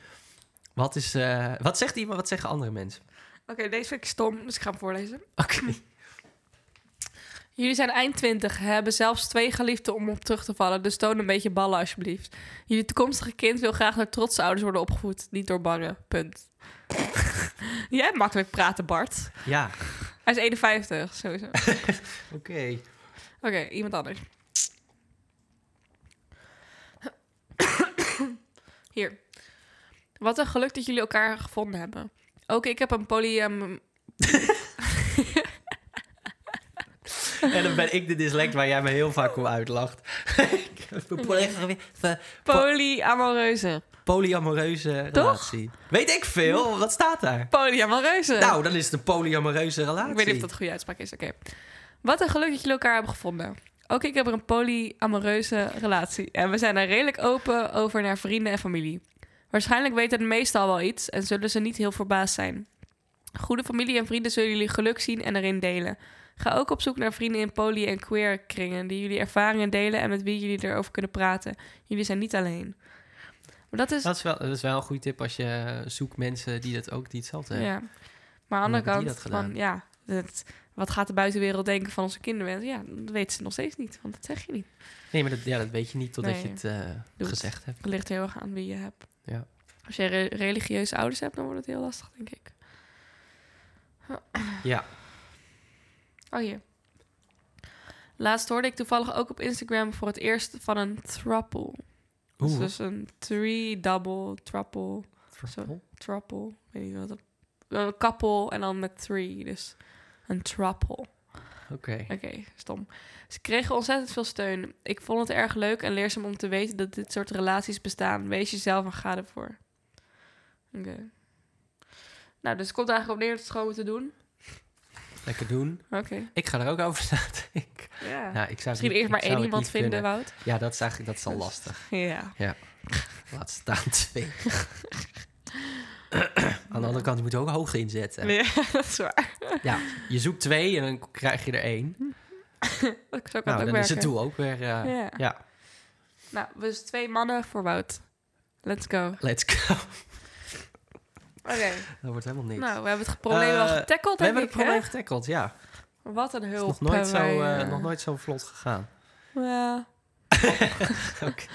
[SPEAKER 2] Wat, is, eh, wat zegt iemand, wat zeggen andere mensen?
[SPEAKER 1] Oké, deze vind ik stom, dus ik ga hem voorlezen.
[SPEAKER 2] Oké.
[SPEAKER 1] Jullie zijn eind 20, hebben zelfs twee geliefden om op terug te vallen, dus toon een beetje ballen alsjeblieft. Jullie toekomstige kind wil graag door trotse ouders worden opgevoed, niet door bangen. Punt. Jij hebt makkelijk praten, Bart.
[SPEAKER 2] Ja,
[SPEAKER 1] Hij is 51, sowieso. Oké,
[SPEAKER 2] oké.
[SPEAKER 1] Oké, iemand anders. Hier. Wat een geluk dat jullie elkaar gevonden hebben. Ook ik heb een polyam...
[SPEAKER 2] En dan ben ik de dyslect waar jij me heel vaak om uitlacht. Ik heb een poly- een
[SPEAKER 1] polyamoreuze.
[SPEAKER 2] polyamoreuze relatie. Weet ik veel? Wat staat daar?
[SPEAKER 1] Polyamoreuze.
[SPEAKER 2] Nou, dan is het een polyamoreuze relatie.
[SPEAKER 1] Eh. Ik weet niet of dat een goede uitspraak is. Oké. Wat een geluk dat jullie elkaar hebben gevonden. Ook ik heb er een polyamoreuze relatie. En we zijn er redelijk open over naar vrienden en familie. Waarschijnlijk weten de meesten al wel iets en zullen ze niet heel verbaasd zijn. Goede familie en vrienden zullen jullie geluk zien en erin delen. Ga ook op zoek naar vrienden in poly- en queer kringen die jullie ervaringen delen en met wie jullie erover kunnen praten. Jullie zijn niet alleen. Maar dat is.
[SPEAKER 2] Dat is, wel, dat is wel een goede tip als je zoekt mensen die dat ook die hetzelfde hebben.
[SPEAKER 1] Ja. Maar aan de andere
[SPEAKER 2] hebben die
[SPEAKER 1] kant,
[SPEAKER 2] dat gedaan?
[SPEAKER 1] van, ja, het- wat gaat de buitenwereld denken van onze kinderwens? Ja, dat weten ze nog steeds niet, want dat zeg je niet.
[SPEAKER 2] Nee, maar dat, ja, dat weet je niet totdat
[SPEAKER 1] Nee.
[SPEAKER 2] je het eh,
[SPEAKER 1] Doet.
[SPEAKER 2] gezegd hebt.
[SPEAKER 1] Het ligt heel erg aan wie je hebt.
[SPEAKER 2] Ja.
[SPEAKER 1] Als jij re- religieuze ouders hebt, dan wordt het heel lastig, denk ik.
[SPEAKER 2] Ja.
[SPEAKER 1] Oh, hier. Laatst hoorde ik toevallig ook op Instagram voor het eerst van een throuple. Dus,
[SPEAKER 2] Oeh.
[SPEAKER 1] dus een three double throuple,
[SPEAKER 2] Throuple?
[SPEAKER 1] throuple, ik weet niet wat het... Een couple en dan met three, dus een throuple.
[SPEAKER 2] Oké.
[SPEAKER 1] Oké, stom. Ze kregen ontzettend veel steun. Ik vond het erg leuk en leerzaam om te weten dat dit soort relaties bestaan. Wees jezelf en ga ervoor. Oké. Nou, dus het komt eigenlijk op neer dat ze het gewoon moeten doen.
[SPEAKER 2] Lekker doen.
[SPEAKER 1] Oké.
[SPEAKER 2] Ik ga er ook over nadenken.
[SPEAKER 1] Ja.
[SPEAKER 2] Nou, ik zou
[SPEAKER 1] Misschien
[SPEAKER 2] niet-
[SPEAKER 1] eerst
[SPEAKER 2] ik
[SPEAKER 1] maar
[SPEAKER 2] zou
[SPEAKER 1] één
[SPEAKER 2] het
[SPEAKER 1] iemand
[SPEAKER 2] niet
[SPEAKER 1] vinden,
[SPEAKER 2] kunnen.
[SPEAKER 1] Wout.
[SPEAKER 2] Ja, dat is eigenlijk dat is al
[SPEAKER 1] Dus-
[SPEAKER 2] lastig.
[SPEAKER 1] Ja.
[SPEAKER 2] Laat staan twee. Aan de andere kant, je moet ook hoog inzetten.
[SPEAKER 1] Ja, dat is waar.
[SPEAKER 2] Je zoekt twee en dan krijg je er één.
[SPEAKER 1] Dat zou kan
[SPEAKER 2] Nou,
[SPEAKER 1] ook
[SPEAKER 2] dan
[SPEAKER 1] werken.
[SPEAKER 2] is het doel ook weer... eh,
[SPEAKER 1] Ja.
[SPEAKER 2] ja.
[SPEAKER 1] Nou, dus twee mannen voor Wout. Let's go. Oké.
[SPEAKER 2] let's go. Dat wordt helemaal niks.
[SPEAKER 1] Nou, we hebben het probleem wel
[SPEAKER 2] Eh,
[SPEAKER 1] getackled,
[SPEAKER 2] we
[SPEAKER 1] denk
[SPEAKER 2] hebben
[SPEAKER 1] ik.
[SPEAKER 2] het probleem
[SPEAKER 1] hè?
[SPEAKER 2] getackled, ja.
[SPEAKER 1] Wat een hulp.
[SPEAKER 2] Nog nooit, zo,
[SPEAKER 1] hebben wij,
[SPEAKER 2] eh,
[SPEAKER 1] eh.
[SPEAKER 2] nog nooit zo vlot gegaan.
[SPEAKER 1] Ja.
[SPEAKER 2] Oké.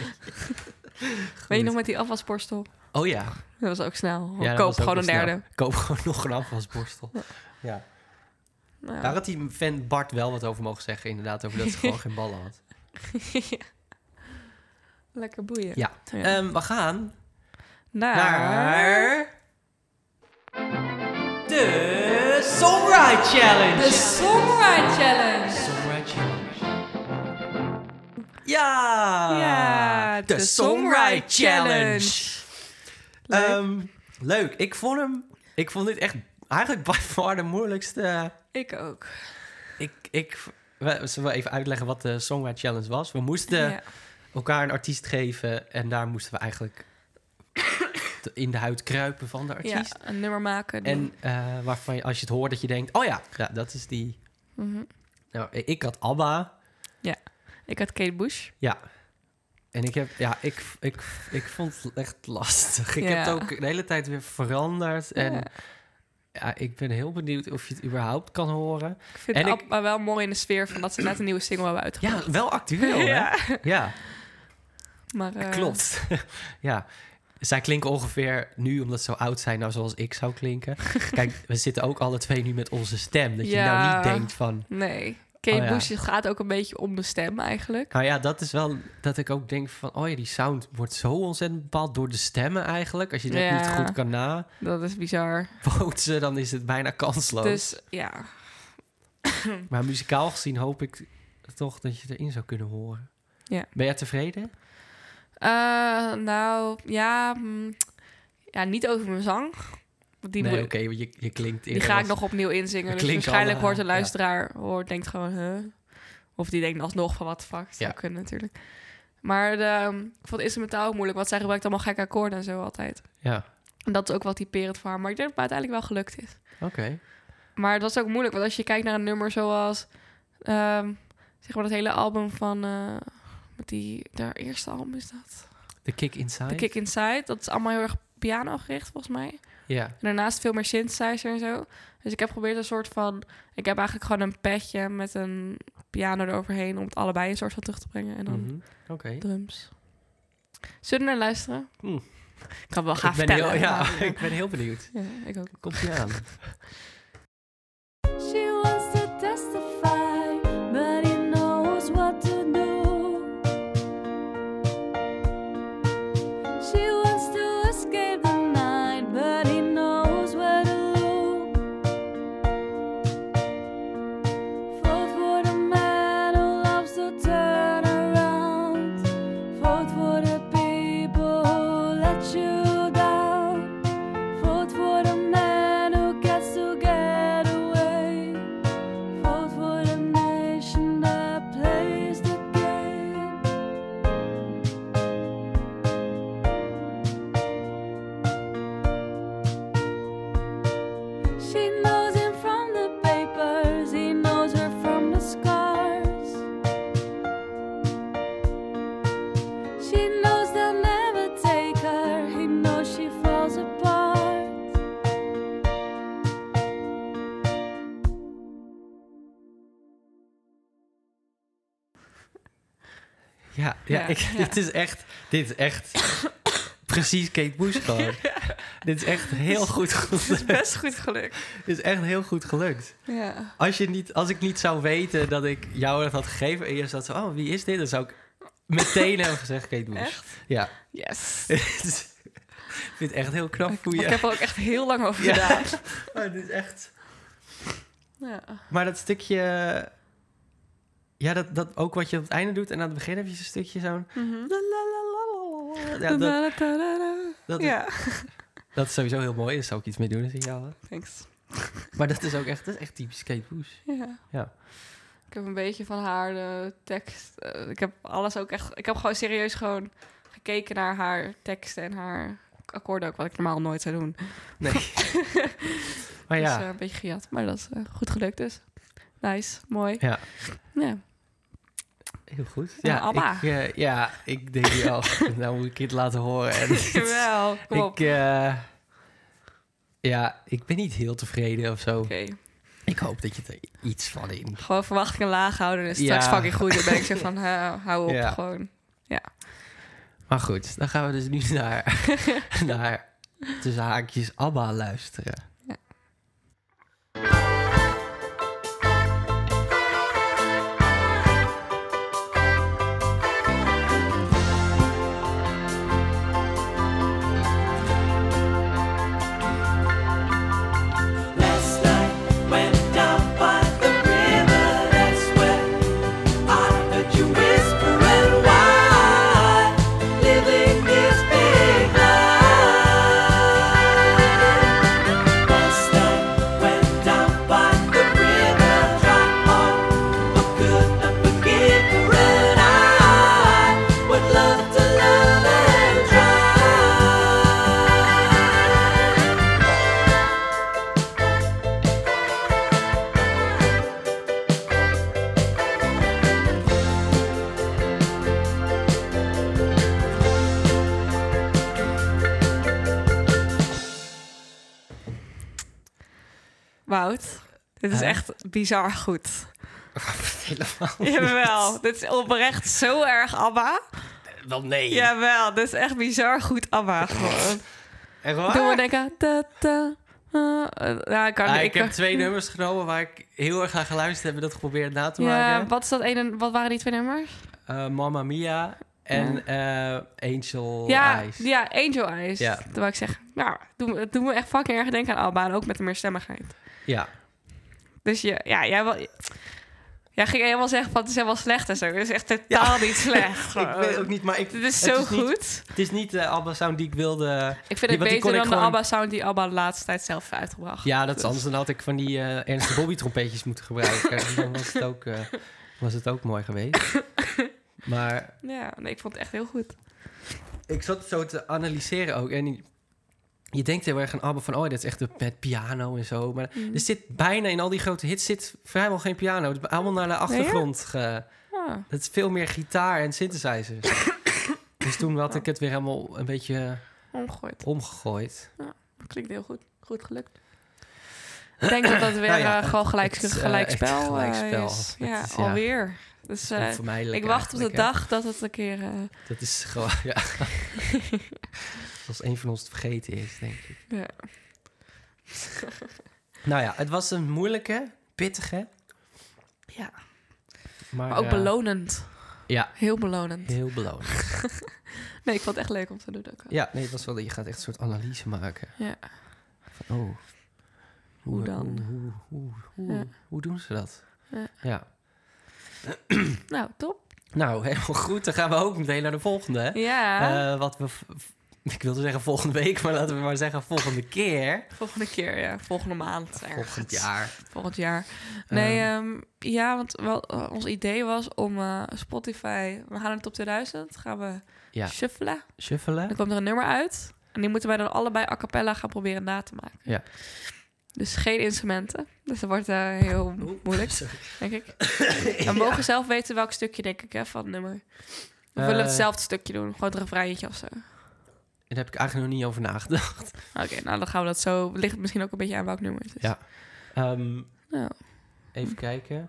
[SPEAKER 1] Weet je
[SPEAKER 2] Goed.
[SPEAKER 1] nog met die afwasborstel?
[SPEAKER 2] Oh ja.
[SPEAKER 1] Dat was ook snel.
[SPEAKER 2] Ja, dat
[SPEAKER 1] Koop
[SPEAKER 2] was ook
[SPEAKER 1] gewoon een
[SPEAKER 2] wel snel.
[SPEAKER 1] derde.
[SPEAKER 2] Koop gewoon nog een afwasborstel.
[SPEAKER 1] Ja.
[SPEAKER 2] Ja.
[SPEAKER 1] Nou.
[SPEAKER 2] Daar had die fan Bart wel wat over mogen zeggen, inderdaad. Over dat ze gewoon geen ballen had.
[SPEAKER 1] Lekker boeien.
[SPEAKER 2] Ja. Ehm, we gaan
[SPEAKER 1] Naar...
[SPEAKER 2] naar... De Songwrite Challenge!
[SPEAKER 1] De Songwriting Challenge.
[SPEAKER 2] Songwrite Challenge. Ja!
[SPEAKER 1] Ja,
[SPEAKER 2] de,
[SPEAKER 1] de
[SPEAKER 2] Songwrite
[SPEAKER 1] Songwrite
[SPEAKER 2] Challenge.
[SPEAKER 1] Leuk.
[SPEAKER 2] Ehm, leuk. Ik vond hem... Ik vond dit echt eigenlijk by far de moeilijkste...
[SPEAKER 1] Ik ook.
[SPEAKER 2] Ik... ik we, zullen we even uitleggen wat de Songwrite Challenge was? We moesten
[SPEAKER 1] Ja.
[SPEAKER 2] elkaar een artiest geven en daar moesten we eigenlijk te- in de huid kruipen van de
[SPEAKER 1] ja,
[SPEAKER 2] artiest.
[SPEAKER 1] een nummer maken. doen.
[SPEAKER 2] En eh, waarvan je, als je het hoort dat je denkt, oh ja, ja dat is die...
[SPEAKER 1] Mhm.
[SPEAKER 2] Nou, ik had ABBA,
[SPEAKER 1] Ik had Kate Bush.
[SPEAKER 2] Ja. En ik heb, ja, ik, ik, ik vond het echt lastig. Ik
[SPEAKER 1] Ja.
[SPEAKER 2] heb het ook de hele tijd weer veranderd. En
[SPEAKER 1] Ja.
[SPEAKER 2] ja. ik ben heel benieuwd of je het überhaupt kan horen.
[SPEAKER 1] Ik vind
[SPEAKER 2] En
[SPEAKER 1] het
[SPEAKER 2] ik-
[SPEAKER 1] Abba wel mooi in de sfeer van dat ze net een nieuwe single hebben uitgebracht.
[SPEAKER 2] Ja, wel actueel,
[SPEAKER 1] Ja.
[SPEAKER 2] hè? Ja,
[SPEAKER 1] maar, eh,
[SPEAKER 2] klopt. ja. Zij klinken ongeveer nu, omdat ze zo oud zijn, nou zoals ik zou klinken. Kijk, we zitten ook alle twee nu met onze stem. Dat je nou
[SPEAKER 1] Ja.
[SPEAKER 2] niet denkt van...
[SPEAKER 1] Nee. Kate
[SPEAKER 2] Oh, ja.
[SPEAKER 1] Bush het gaat ook een beetje om de stem eigenlijk.
[SPEAKER 2] Nou ja, dat is wel dat ik ook denk van... Oh ja, die sound wordt zo ontzettend bepaald door de stemmen eigenlijk. Als je dat
[SPEAKER 1] Ja.
[SPEAKER 2] niet goed kan na...
[SPEAKER 1] Dat is bizar.
[SPEAKER 2] bootsen, dan is het bijna kansloos.
[SPEAKER 1] Dus ja.
[SPEAKER 2] Maar muzikaal gezien hoop ik toch dat je het erin zou kunnen horen.
[SPEAKER 1] Ja.
[SPEAKER 2] Ben jij tevreden?
[SPEAKER 1] Eh, nou, ja, mm, ja. Niet over mijn zang. Want Die,
[SPEAKER 2] nee,
[SPEAKER 1] moet-
[SPEAKER 2] oké, want je, je klinkt
[SPEAKER 1] Die ga ik nog opnieuw
[SPEAKER 2] Dat
[SPEAKER 1] inzingen. Dus
[SPEAKER 2] klinkt
[SPEAKER 1] waarschijnlijk
[SPEAKER 2] allemaal,
[SPEAKER 1] hoort de
[SPEAKER 2] ja.
[SPEAKER 1] luisteraar, hoort, denkt gewoon, huh? Of die denkt alsnog van, wat fuck, dat zou
[SPEAKER 2] Ja.
[SPEAKER 1] kunnen natuurlijk. Maar de, ehm, ik vond het instrumentaal ook moeilijk, want zij gebruikt allemaal gekke akkoorden en zo altijd.
[SPEAKER 2] Ja,
[SPEAKER 1] En dat is ook wel typerend voor haar, maar ik denk dat het me uiteindelijk wel gelukt is.
[SPEAKER 2] oké.
[SPEAKER 1] Maar het was ook moeilijk, want als je kijkt naar een nummer zoals, ehm, zeg maar dat hele album van, eh, met die, haar eerste album is dat?
[SPEAKER 2] The Kick Inside.
[SPEAKER 1] The Kick Inside, dat is allemaal heel erg piano gericht volgens mij.
[SPEAKER 2] Ja,
[SPEAKER 1] En daarnaast veel meer synthesizer en zo. Dus ik heb geprobeerd een soort van... Ik heb eigenlijk gewoon een petje met een piano eroverheen... om het allebei een soort van terug te brengen. En dan
[SPEAKER 2] mhm, oké.
[SPEAKER 1] drums. Zullen we naar luisteren?
[SPEAKER 2] Hm.
[SPEAKER 1] Ik kan wel gaan
[SPEAKER 2] Ik ben
[SPEAKER 1] vertellen.
[SPEAKER 2] heel, ja,
[SPEAKER 1] maar-
[SPEAKER 2] ik ben heel benieuwd.
[SPEAKER 1] ja, ik ook.
[SPEAKER 2] Komt ie aan.
[SPEAKER 3] She wants to testify, but he knows
[SPEAKER 2] Ja,
[SPEAKER 1] Ja,
[SPEAKER 2] ik,
[SPEAKER 1] ja.
[SPEAKER 2] dit is echt... Dit is echt... precies Kate Bush gewoon. Dit is echt heel goed
[SPEAKER 1] Het is
[SPEAKER 2] gelukt.
[SPEAKER 1] best goed gelukt.
[SPEAKER 2] Dit is echt heel goed gelukt.
[SPEAKER 1] Ja.
[SPEAKER 2] Als, je niet, als ik niet zou weten dat ik jou dat had gegeven... en je zat zo, oh, wie is dit? Dan zou ik meteen hebben gezegd Kate Bush.
[SPEAKER 1] Echt?
[SPEAKER 2] Ja.
[SPEAKER 1] Yes.
[SPEAKER 2] Dus, ik vind het echt heel knap hoe
[SPEAKER 1] Maar Ik
[SPEAKER 2] je...
[SPEAKER 1] heb er ook echt heel lang over
[SPEAKER 2] Ja.
[SPEAKER 1] gedaan.
[SPEAKER 2] Maar het is echt...
[SPEAKER 1] Ja.
[SPEAKER 2] Maar dat stukje... Ja, dat, dat ook wat je op het einde doet. En aan het begin heb je zo'n stukje zo'n...
[SPEAKER 1] Mhm.
[SPEAKER 2] Ja, dat,
[SPEAKER 1] Da-da-da-da-da.
[SPEAKER 2] dat,
[SPEAKER 1] ja.
[SPEAKER 2] dat is sowieso heel mooi. Daar zou ik iets mee doen als ik jou had.
[SPEAKER 1] Thanks.
[SPEAKER 2] Maar dat is ook echt, dat is echt typisch Kate Bush.
[SPEAKER 1] Ja.
[SPEAKER 2] Ja.
[SPEAKER 1] Ik heb een beetje van haar de tekst. eh, ik heb alles ook echt. Ik heb gewoon serieus gewoon gekeken naar haar teksten en haar akkoorden ook, wat ik normaal nooit zou doen.
[SPEAKER 2] Nee. maar
[SPEAKER 1] Dus
[SPEAKER 2] ja,
[SPEAKER 1] eh, een beetje gejat, maar dat is eh, goed gelukt dus. Nice, mooi.
[SPEAKER 2] Ja.
[SPEAKER 1] Ja.
[SPEAKER 2] heel goed.
[SPEAKER 1] Ja,
[SPEAKER 2] Ja,
[SPEAKER 1] Nou, Abba.
[SPEAKER 2] ik, eh, ja, ik denk hier al, nou moet ik het laten horen. En
[SPEAKER 1] Jawel, kom op.
[SPEAKER 2] ik, eh, ja, ik ben niet heel tevreden of zo.
[SPEAKER 1] Oké,
[SPEAKER 2] Ik hoop dat je er iets van in.
[SPEAKER 1] gewoon verwachtingen laag houden en straks
[SPEAKER 2] Ja.
[SPEAKER 1] fucking goed. Dan ben ik zo van, eh, hou op,
[SPEAKER 2] Ja.
[SPEAKER 1] gewoon.
[SPEAKER 2] Maar goed, dan gaan we dus nu naar, naar tussen haakjes Abba luisteren.
[SPEAKER 3] Last night when down by the river, that's where I heard you whispering why living is big life. Last night when down by the river, tried hard but could not forgive her, and I would love to love and try.
[SPEAKER 1] Wout, dit is
[SPEAKER 2] Huh?
[SPEAKER 1] echt bizar goed.
[SPEAKER 2] Helemaal.
[SPEAKER 1] Jawel, dit is oprecht zo erg ABBA.
[SPEAKER 2] Wel nee.
[SPEAKER 1] Jawel, dit is echt bizar goed ABBA gewoon.
[SPEAKER 2] Echt
[SPEAKER 1] Toen
[SPEAKER 2] waar?
[SPEAKER 1] we denken... Da, da, eh, eh, nou, ik kan,
[SPEAKER 2] Ah,
[SPEAKER 1] ik,
[SPEAKER 2] ik heb twee nummers genomen waar ik heel erg aan geluisterd heb en dat geprobeerd na te
[SPEAKER 1] Ja,
[SPEAKER 2] maken.
[SPEAKER 1] wat, is dat ene, wat waren die twee nummers?
[SPEAKER 2] Eh, Mamma Mia en eh, Angel
[SPEAKER 1] ja,
[SPEAKER 2] Eyes.
[SPEAKER 1] ja, Angel Eyes.
[SPEAKER 2] Ja.
[SPEAKER 1] Dat wou ik zeggen. Nou, het doet, me- het doet me echt fucking erg denken aan ABBA. En ook met de meerstemmigheid.
[SPEAKER 2] Ja.
[SPEAKER 1] Dus je, ja, jij, wel, jij ging helemaal zeggen van het is helemaal slecht en zo. Het is echt totaal niet slecht.
[SPEAKER 2] Ik weet het ook niet, maar ik,
[SPEAKER 1] Dit is
[SPEAKER 2] het
[SPEAKER 1] zo
[SPEAKER 2] niet-
[SPEAKER 1] goed.
[SPEAKER 2] het is niet de ABBA-sound die ik wilde.
[SPEAKER 1] Ik vind
[SPEAKER 2] Ja,
[SPEAKER 1] het
[SPEAKER 2] want die
[SPEAKER 1] beter
[SPEAKER 2] kon
[SPEAKER 1] dan
[SPEAKER 2] ik
[SPEAKER 1] de
[SPEAKER 2] gewoon-
[SPEAKER 1] ABBA-sound die ABBA de laatste tijd zelf heeft uitgebracht.
[SPEAKER 2] Ja, dat is
[SPEAKER 1] Dus-
[SPEAKER 2] anders. Dan had ik van die eh Ernst Bobby trompetjes moeten gebruiken. dan was het, ook, eh, was het ook mooi geweest. Maar
[SPEAKER 1] Ja, nee, ik vond het echt heel goed.
[SPEAKER 2] ik zat zo te analyseren ook. En je denkt heel erg aan ABBA van... oh, dat is echt de- met piano en zo. Maar
[SPEAKER 1] Dus,
[SPEAKER 2] er zit bijna in al die grote hits zit vrijwel geen piano. Het is allemaal naar de achtergrond ge-
[SPEAKER 1] Ah,
[SPEAKER 2] Het is veel meer gitaar en synthesizers. dus toen had ik het weer helemaal een beetje
[SPEAKER 1] omgegooid.
[SPEAKER 2] omgegooid.
[SPEAKER 1] Klinkt heel goed. Goed gelukt. Ik denk dat dat weer
[SPEAKER 2] Nou ja,
[SPEAKER 1] eh, gewoon gelijk,
[SPEAKER 2] het is, eh,
[SPEAKER 1] gelijkspel,
[SPEAKER 2] echt
[SPEAKER 1] eh,
[SPEAKER 2] gelijkspel.
[SPEAKER 1] is.
[SPEAKER 2] Het
[SPEAKER 1] Ja,
[SPEAKER 2] is, ja.
[SPEAKER 1] alweer. Dus eh,
[SPEAKER 2] Onvermijdelijk
[SPEAKER 1] ik wacht op de
[SPEAKER 2] eigenlijk, hè.
[SPEAKER 1] dag dat het een keer... eh,
[SPEAKER 2] Dat is gewoon, ja. Als een van ons het vergeten is, denk ik.
[SPEAKER 1] Ja.
[SPEAKER 2] Nou ja, het was een moeilijke, pittige.
[SPEAKER 1] ja.
[SPEAKER 2] Maar,
[SPEAKER 1] Maar ook
[SPEAKER 2] eh,
[SPEAKER 1] belonend.
[SPEAKER 2] Ja.
[SPEAKER 1] Heel belonend.
[SPEAKER 2] Heel belonend.
[SPEAKER 1] Nee, ik vond het echt leuk om te doen ook.
[SPEAKER 2] Ja, nee, het was wel, je gaat echt een soort analyse maken.
[SPEAKER 1] Ja.
[SPEAKER 2] Van, oh,
[SPEAKER 1] Hoe dan?
[SPEAKER 2] Hoe, hoe, hoe, hoe,
[SPEAKER 1] Ja.
[SPEAKER 2] hoe doen ze dat?
[SPEAKER 1] Ja.
[SPEAKER 2] ja.
[SPEAKER 1] Nou, top.
[SPEAKER 2] Nou, helemaal goed. Dan gaan we ook meteen naar de volgende. hè?
[SPEAKER 1] Ja,
[SPEAKER 2] Eh, wat we. v- v- Ik wilde zeggen volgende week, maar laten we maar zeggen volgende keer.
[SPEAKER 1] volgende keer. Ja, volgende maand. ergens.
[SPEAKER 2] Volgend jaar.
[SPEAKER 1] volgend jaar. Nee, ehm, ja, want wel, eh, ons idee was om eh, Spotify... We gaan naar de top 2000, gaan we
[SPEAKER 2] Ja.
[SPEAKER 1] shuffelen.
[SPEAKER 2] Shuffelen.
[SPEAKER 1] Dan komt er een nummer uit. En die moeten wij dan allebei a cappella gaan proberen na te maken.
[SPEAKER 2] Ja.
[SPEAKER 1] Dus geen instrumenten. Dus dat wordt eh, heel
[SPEAKER 2] Oeh,
[SPEAKER 1] moeilijk,
[SPEAKER 2] sorry.
[SPEAKER 1] denk ik. We mogen zelf weten welk stukje, denk ik, hè, van het nummer. We willen
[SPEAKER 2] Eh.
[SPEAKER 1] hetzelfde stukje doen. Gewoon het refreintje of zo.
[SPEAKER 2] Daar heb ik eigenlijk nog niet over nagedacht.
[SPEAKER 1] Oké, nou dan gaan we dat zo... Ligt misschien ook een beetje aan welk nummer het is.
[SPEAKER 2] Ja. Ehm,
[SPEAKER 1] Nou,
[SPEAKER 2] even kijken.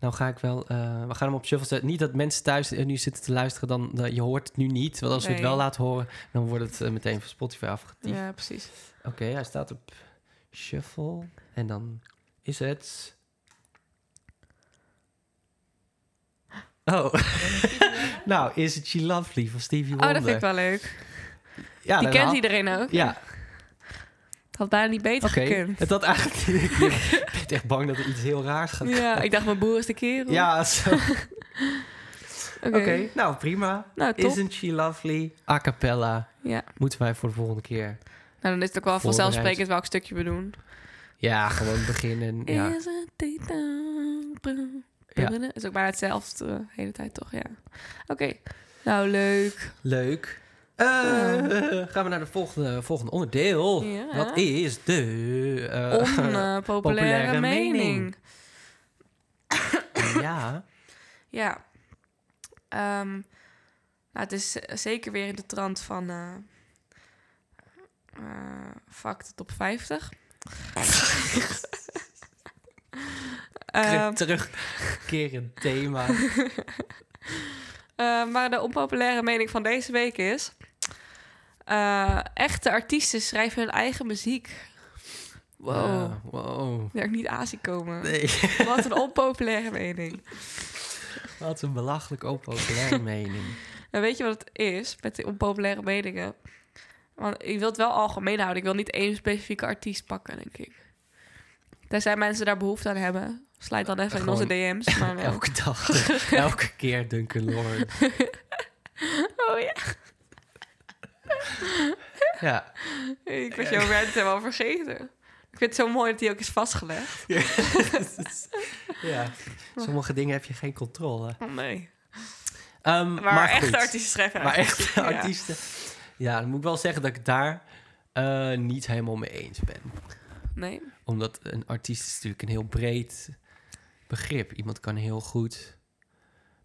[SPEAKER 2] Nou ga ik wel... eh, we gaan hem op shuffle zetten. Niet dat mensen thuis eh, nu zitten te luisteren, dan eh, je hoort het nu niet. Want als we het
[SPEAKER 1] Nee.
[SPEAKER 2] wel laten horen, dan wordt het eh, meteen van Spotify afgetiefd.
[SPEAKER 1] Ja, precies. Oh,
[SPEAKER 2] Oké, hij staat op shuffle. En dan is het... Oh, nou is het She Lovely van Stevie Wonder.
[SPEAKER 1] Oh, dat vind ik wel leuk.
[SPEAKER 2] Ja,
[SPEAKER 1] Die
[SPEAKER 2] dan
[SPEAKER 1] kent
[SPEAKER 2] haal-
[SPEAKER 1] iedereen ook.
[SPEAKER 2] Ja,
[SPEAKER 1] Het had bijna niet beter
[SPEAKER 2] oké.
[SPEAKER 1] gekund.
[SPEAKER 2] Het had eigenlijk... ik ben echt bang dat er iets heel raars gaat
[SPEAKER 1] Ja, ik dacht, mijn boer is de kerel.
[SPEAKER 2] Ja, zo. oké.
[SPEAKER 1] oké.
[SPEAKER 2] Nou, prima.
[SPEAKER 1] Nou, top.
[SPEAKER 2] Isn't she lovely? A cappella.
[SPEAKER 1] Ja.
[SPEAKER 2] Moeten wij voor de volgende keer.
[SPEAKER 1] Nou, dan is het ook wel
[SPEAKER 2] Voorbereid.
[SPEAKER 1] vanzelfsprekend welk stukje we doen.
[SPEAKER 2] Ja, gewoon beginnen. Ja.
[SPEAKER 1] Is het dit dan?
[SPEAKER 2] Ja.
[SPEAKER 1] Het is ook bijna hetzelfde de hele tijd, toch? Ja. Oké. Nou, leuk.
[SPEAKER 2] Leuk. Eh, gaan we naar de volgende, volgende onderdeel.
[SPEAKER 1] Ja.
[SPEAKER 2] Dat is de... eh,
[SPEAKER 1] Onpopulaire
[SPEAKER 2] populaire
[SPEAKER 1] mening.
[SPEAKER 2] mening. ja.
[SPEAKER 1] Ja. Ehm, nou, het is eh, zeker weer in de trant van... eh eh, fuck de top 50. Ehm,
[SPEAKER 2] Terug terugkerend thema.
[SPEAKER 1] Eh, maar de onpopulaire mening van deze week is... eh, echte artiesten schrijven hun eigen muziek. Wow.
[SPEAKER 2] Ja, wow.
[SPEAKER 1] Die had ik niet aan zien komen.
[SPEAKER 2] Nee,
[SPEAKER 1] Wat een onpopulaire mening.
[SPEAKER 2] wat een belachelijk onpopulaire mening.
[SPEAKER 1] En weet je wat het is met die onpopulaire meningen? Want ik wil het wel algemeen houden. Ik wil niet één specifieke artiest pakken, denk ik. Tenzij mensen daar behoefte aan hebben. Slijt dan even in
[SPEAKER 2] Gewoon
[SPEAKER 1] onze DM's. Maar, eh,
[SPEAKER 2] Elke dag, elke keer Duncan Lawrence.
[SPEAKER 1] Oh ja,
[SPEAKER 2] Ja.
[SPEAKER 1] ik was jouw rant helemaal vergeten. Ik vind het zo mooi dat die ook is vastgelegd.
[SPEAKER 2] ja. Sommige dingen heb je geen controle.
[SPEAKER 1] Oh nee.
[SPEAKER 2] Ehm,
[SPEAKER 1] Maar, echte
[SPEAKER 2] goed.
[SPEAKER 1] artiesten schrijven hun
[SPEAKER 2] Maar
[SPEAKER 1] eigen
[SPEAKER 2] echte
[SPEAKER 1] muziek, ja.
[SPEAKER 2] artiesten. Ja, dan moet ik wel zeggen dat ik het daar eh, niet helemaal mee eens ben.
[SPEAKER 1] Nee.
[SPEAKER 2] Omdat een artiest is natuurlijk een heel breed begrip. Iemand kan heel goed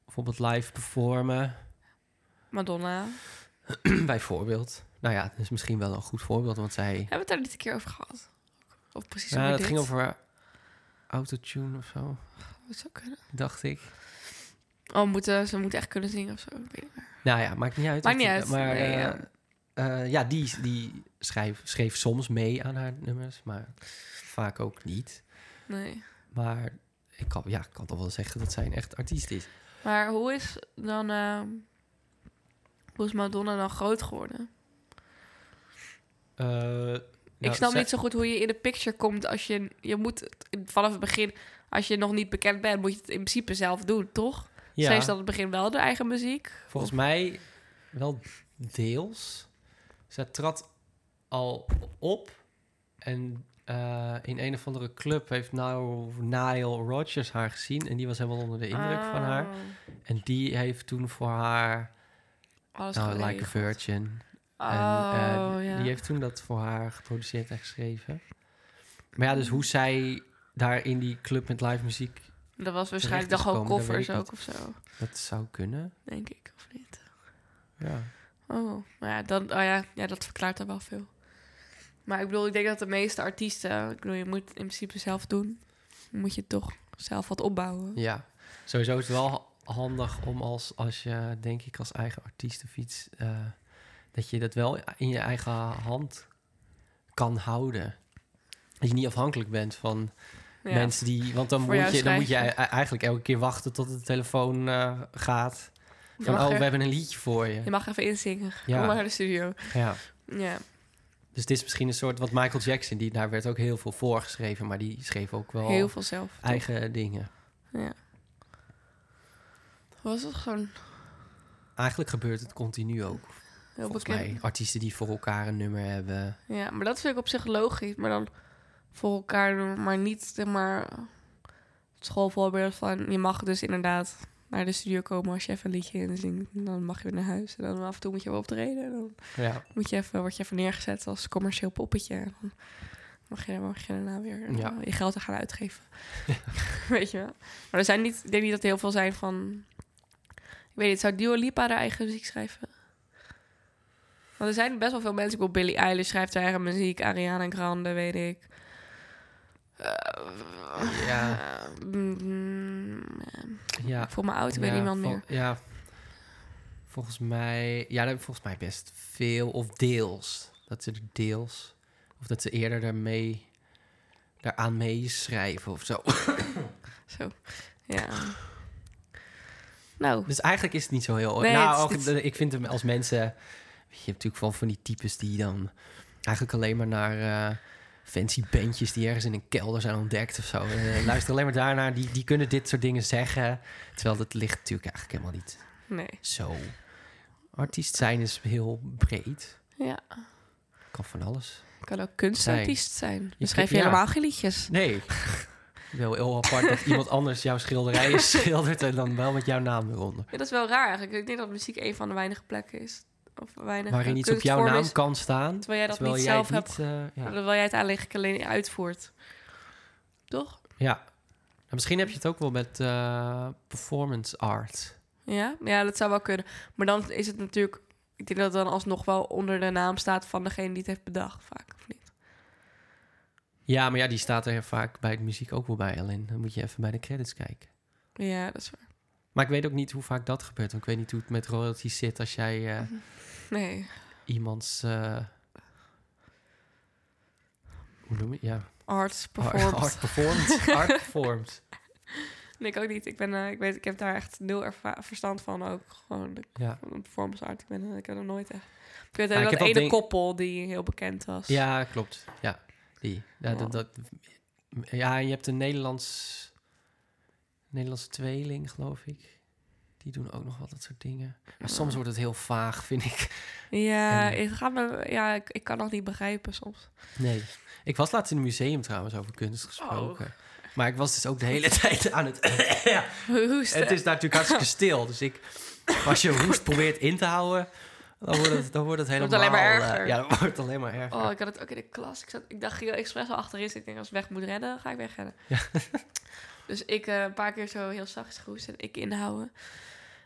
[SPEAKER 2] bijvoorbeeld live performen.
[SPEAKER 1] Madonna.
[SPEAKER 2] bijvoorbeeld. Nou ja, dat is misschien wel een goed voorbeeld, want zij...
[SPEAKER 1] Hebben we het daar niet een keer over gehad? Of precies
[SPEAKER 2] Ja,
[SPEAKER 1] over
[SPEAKER 2] dat
[SPEAKER 1] dit?
[SPEAKER 2] ging over autotune of zo,
[SPEAKER 1] Dat zou kunnen.
[SPEAKER 2] dacht ik.
[SPEAKER 1] Oh, moeten, ze moeten echt kunnen zingen of zo. ik weet het niet.
[SPEAKER 2] Nou ja, maakt niet uit.
[SPEAKER 1] Maakt
[SPEAKER 2] wat
[SPEAKER 1] niet
[SPEAKER 2] die-
[SPEAKER 1] uit,
[SPEAKER 2] Maar
[SPEAKER 1] nee,
[SPEAKER 2] eh,
[SPEAKER 1] ja.
[SPEAKER 2] eh, ja, die, die schrijf, schreef soms mee aan haar nummers, maar vaak ook niet.
[SPEAKER 1] Nee.
[SPEAKER 2] Maar ik kan, ja, ik kan toch wel zeggen dat zij een echt artiest is.
[SPEAKER 1] Maar hoe is dan... ehm, hoe is Madonna dan groot geworden?
[SPEAKER 2] Eh,
[SPEAKER 1] ik
[SPEAKER 2] nou,
[SPEAKER 1] snap
[SPEAKER 2] zij-
[SPEAKER 1] niet zo goed hoe je in de picture komt als je... Je moet het- vanaf het begin... Als je nog niet bekend bent, moet je het in principe zelf doen, toch? Ze
[SPEAKER 2] Ja,
[SPEAKER 1] heeft dan aan het begin wel de eigen muziek.
[SPEAKER 2] volgens mij wel deels. Zij trad al op en eh, in een of andere club heeft nou Nile Rodgers haar gezien en die was helemaal onder de indruk van haar.
[SPEAKER 1] Ah,
[SPEAKER 2] En die heeft toen voor haar
[SPEAKER 1] Alles
[SPEAKER 2] nou,
[SPEAKER 1] geregeld.
[SPEAKER 2] Like a Virgin
[SPEAKER 1] Oh,
[SPEAKER 2] en eh,
[SPEAKER 1] ja.
[SPEAKER 2] die heeft toen dat voor haar geproduceerd en geschreven. Maar ja, dus hoe zij daar in die club met live muziek,
[SPEAKER 1] Dat was waarschijnlijk dan
[SPEAKER 2] terecht is
[SPEAKER 1] gewoon
[SPEAKER 2] gekomen, dat
[SPEAKER 1] covers
[SPEAKER 2] weet ik
[SPEAKER 1] ook of zo.
[SPEAKER 2] dat zou kunnen.
[SPEAKER 1] Denk ik, of niet?
[SPEAKER 2] Ja.
[SPEAKER 1] Oh, maar ja, dan, oh ja, ja, dat verklaart dan wel veel. Maar ik bedoel, ik denk dat de meeste artiesten... Ik bedoel, je moet het in principe zelf doen. Dan moet je toch zelf wat opbouwen.
[SPEAKER 2] ja. Sowieso is het wel ha- handig om als, als je, denk ik, als eigen artiest of iets, eh, dat je dat wel in je eigen hand kan houden. Dat je niet afhankelijk bent van
[SPEAKER 1] Ja.
[SPEAKER 2] mensen die... Want dan
[SPEAKER 1] Voor
[SPEAKER 2] moet,
[SPEAKER 1] jou
[SPEAKER 2] je, dan moet je
[SPEAKER 1] schrijf
[SPEAKER 2] e- eigenlijk elke keer wachten tot de telefoon eh, gaat.
[SPEAKER 1] Je
[SPEAKER 2] Van,
[SPEAKER 1] mag
[SPEAKER 2] oh,
[SPEAKER 1] er-
[SPEAKER 2] we hebben een liedje voor je.
[SPEAKER 1] Je mag even inzingen.
[SPEAKER 2] Ja.
[SPEAKER 1] Kom maar naar de studio.
[SPEAKER 2] Ja.
[SPEAKER 1] Ja.
[SPEAKER 2] Dus dit is misschien een soort, wat Michael Jackson, die, daar werd ook heel veel voor geschreven, maar die schreef ook wel
[SPEAKER 1] Heel veel zelf. toch?
[SPEAKER 2] Oh, eigen dingen.
[SPEAKER 1] Ja. Was het gewoon
[SPEAKER 2] Eigenlijk gebeurt het continu ook.
[SPEAKER 1] heel
[SPEAKER 2] volgens
[SPEAKER 1] bekend?
[SPEAKER 2] mij artiesten die voor elkaar een nummer hebben.
[SPEAKER 1] Ja, maar dat vind ik op zich logisch. Maar dan voor elkaar doen, maar niet zeg maar het schoolvoorbeeld van je mag dus inderdaad naar de studio komen als je even een liedje inzingt. En dan mag je weer naar huis. En dan af en toe moet je wel optreden. En dan
[SPEAKER 2] Ja,
[SPEAKER 1] moet je even, word je even neergezet als commercieel poppetje. En dan mag je, mag je daarna weer eh,
[SPEAKER 2] Ja.
[SPEAKER 1] je geld er gaan uitgeven. weet je wel. Maar er zijn niet, ik denk niet dat er heel veel zijn van... Ik weet niet, zou Dua Lipa haar eigen muziek schrijven? Want er zijn best wel veel mensen. Ik bedoel, Billie Eilish schrijft haar eigen muziek. Ariana Grande, weet ik. Eh,
[SPEAKER 2] ja.
[SPEAKER 1] mm,
[SPEAKER 2] Ja.
[SPEAKER 1] Ik voel me oud, ik ben
[SPEAKER 2] Ja,
[SPEAKER 1] niemand
[SPEAKER 2] vol-
[SPEAKER 1] meer.
[SPEAKER 2] Ja. Volgens mij, ja, daar heb ik volgens mij best veel, of deels. Dat ze er deels, of dat ze eerder daarmee, daaraan mee schrijven of zo.
[SPEAKER 1] Zo. Ja. Nou,
[SPEAKER 2] Dus eigenlijk is het niet zo heel...
[SPEAKER 1] Nee,
[SPEAKER 2] nou,
[SPEAKER 1] het is-
[SPEAKER 2] ook, ik vind hem als mensen... Je hebt natuurlijk wel van die types die dan eigenlijk alleen maar naar... eh, Fancy bandjes die ergens in een kelder zijn ontdekt of zo. Eh, luister alleen maar daarnaar. Die, die kunnen dit soort dingen zeggen. Terwijl dat ligt natuurlijk eigenlijk helemaal niet
[SPEAKER 1] nee.
[SPEAKER 2] Zo. Artiest zijn is heel breed.
[SPEAKER 1] Ja.
[SPEAKER 2] Kan van alles.
[SPEAKER 1] Kan ook kunstartiest zijn. Dan schrijf je
[SPEAKER 2] ja.
[SPEAKER 1] helemaal geen liedjes.
[SPEAKER 2] Nee. wel heel apart dat iemand anders jouw schilderijen schildert en dan wel met jouw naam eronder.
[SPEAKER 1] Ja, dat is wel raar eigenlijk. Ik denk dat muziek een van de weinige plekken is. Of weinig
[SPEAKER 2] Waarin iets op jouw naam kan staan.
[SPEAKER 1] terwijl jij dat
[SPEAKER 2] terwijl
[SPEAKER 1] niet
[SPEAKER 2] jij
[SPEAKER 1] zelf
[SPEAKER 2] het
[SPEAKER 1] hebt.
[SPEAKER 2] niet, eh, ja.
[SPEAKER 1] Terwijl jij het eigenlijk alleen uitvoert. Toch?
[SPEAKER 2] ja. Nou, misschien heb je het ook wel met eh, performance art.
[SPEAKER 1] Ja? ja, dat zou wel kunnen. Maar dan is het natuurlijk... Ik denk dat het dan alsnog wel onder de naam staat van degene die het heeft bedacht. Vaak of niet.
[SPEAKER 2] Ja, maar ja, die staat er vaak bij de muziek ook wel bij. Alleen dan moet je even bij de credits kijken.
[SPEAKER 1] Ja, dat is waar.
[SPEAKER 2] Maar ik weet ook niet hoe vaak dat gebeurt. Want ik weet niet hoe het met royalties zit als jij eh,
[SPEAKER 1] Nee.
[SPEAKER 2] iemands. eh, hoe noem je Ja.
[SPEAKER 1] Arts
[SPEAKER 2] Hard,
[SPEAKER 1] performed.
[SPEAKER 2] performed. Hard performed.
[SPEAKER 1] Nee, ik ook niet. Ik, ben, eh, ik, weet, ik heb daar echt nul erva- verstand van ook. Gewoon ik-
[SPEAKER 2] Ja.
[SPEAKER 1] een performance art. Ik, ben, eh, ik heb er nooit echt... Ik weet
[SPEAKER 2] ik
[SPEAKER 1] alleen
[SPEAKER 2] heb
[SPEAKER 1] dat
[SPEAKER 2] wel
[SPEAKER 1] ene
[SPEAKER 2] ding-
[SPEAKER 1] koppel die heel bekend was.
[SPEAKER 2] Ja, klopt. Ja, die. Ja,
[SPEAKER 1] Ja.
[SPEAKER 2] dat, dat- ja, je hebt een Nederlands... Nederlandse tweeling, geloof ik. Die doen ook nog wel dat soort dingen. Maar
[SPEAKER 1] Ah.
[SPEAKER 2] soms wordt het heel vaag, vind ik.
[SPEAKER 1] Ja,
[SPEAKER 2] En-
[SPEAKER 1] het gaat me, ja ik, ik kan nog niet begrijpen soms.
[SPEAKER 2] Nee. Ik was laatst in een museum trouwens over kunst gesproken.
[SPEAKER 1] Oh.
[SPEAKER 2] Maar ik was dus ook de hele tijd aan het... ja,
[SPEAKER 1] Hoesten.
[SPEAKER 2] het is daar natuurlijk hartstikke stil. Dus ik, als je hoest probeert in te houden, dan wordt het, dan wordt het
[SPEAKER 1] Wordt
[SPEAKER 2] helemaal...
[SPEAKER 1] het alleen maar
[SPEAKER 2] eh,
[SPEAKER 1] erger.
[SPEAKER 2] ja, dan wordt het alleen maar erger.
[SPEAKER 1] Oh, ik had het ook in de klas. Ik, zat, ik dacht, ik expres al achterin zitten. Ik denk, als ik weg moet redden, ga ik wegrennen. dus ik eh, een paar keer zo heel zachtjes gehoest en ik inhouden.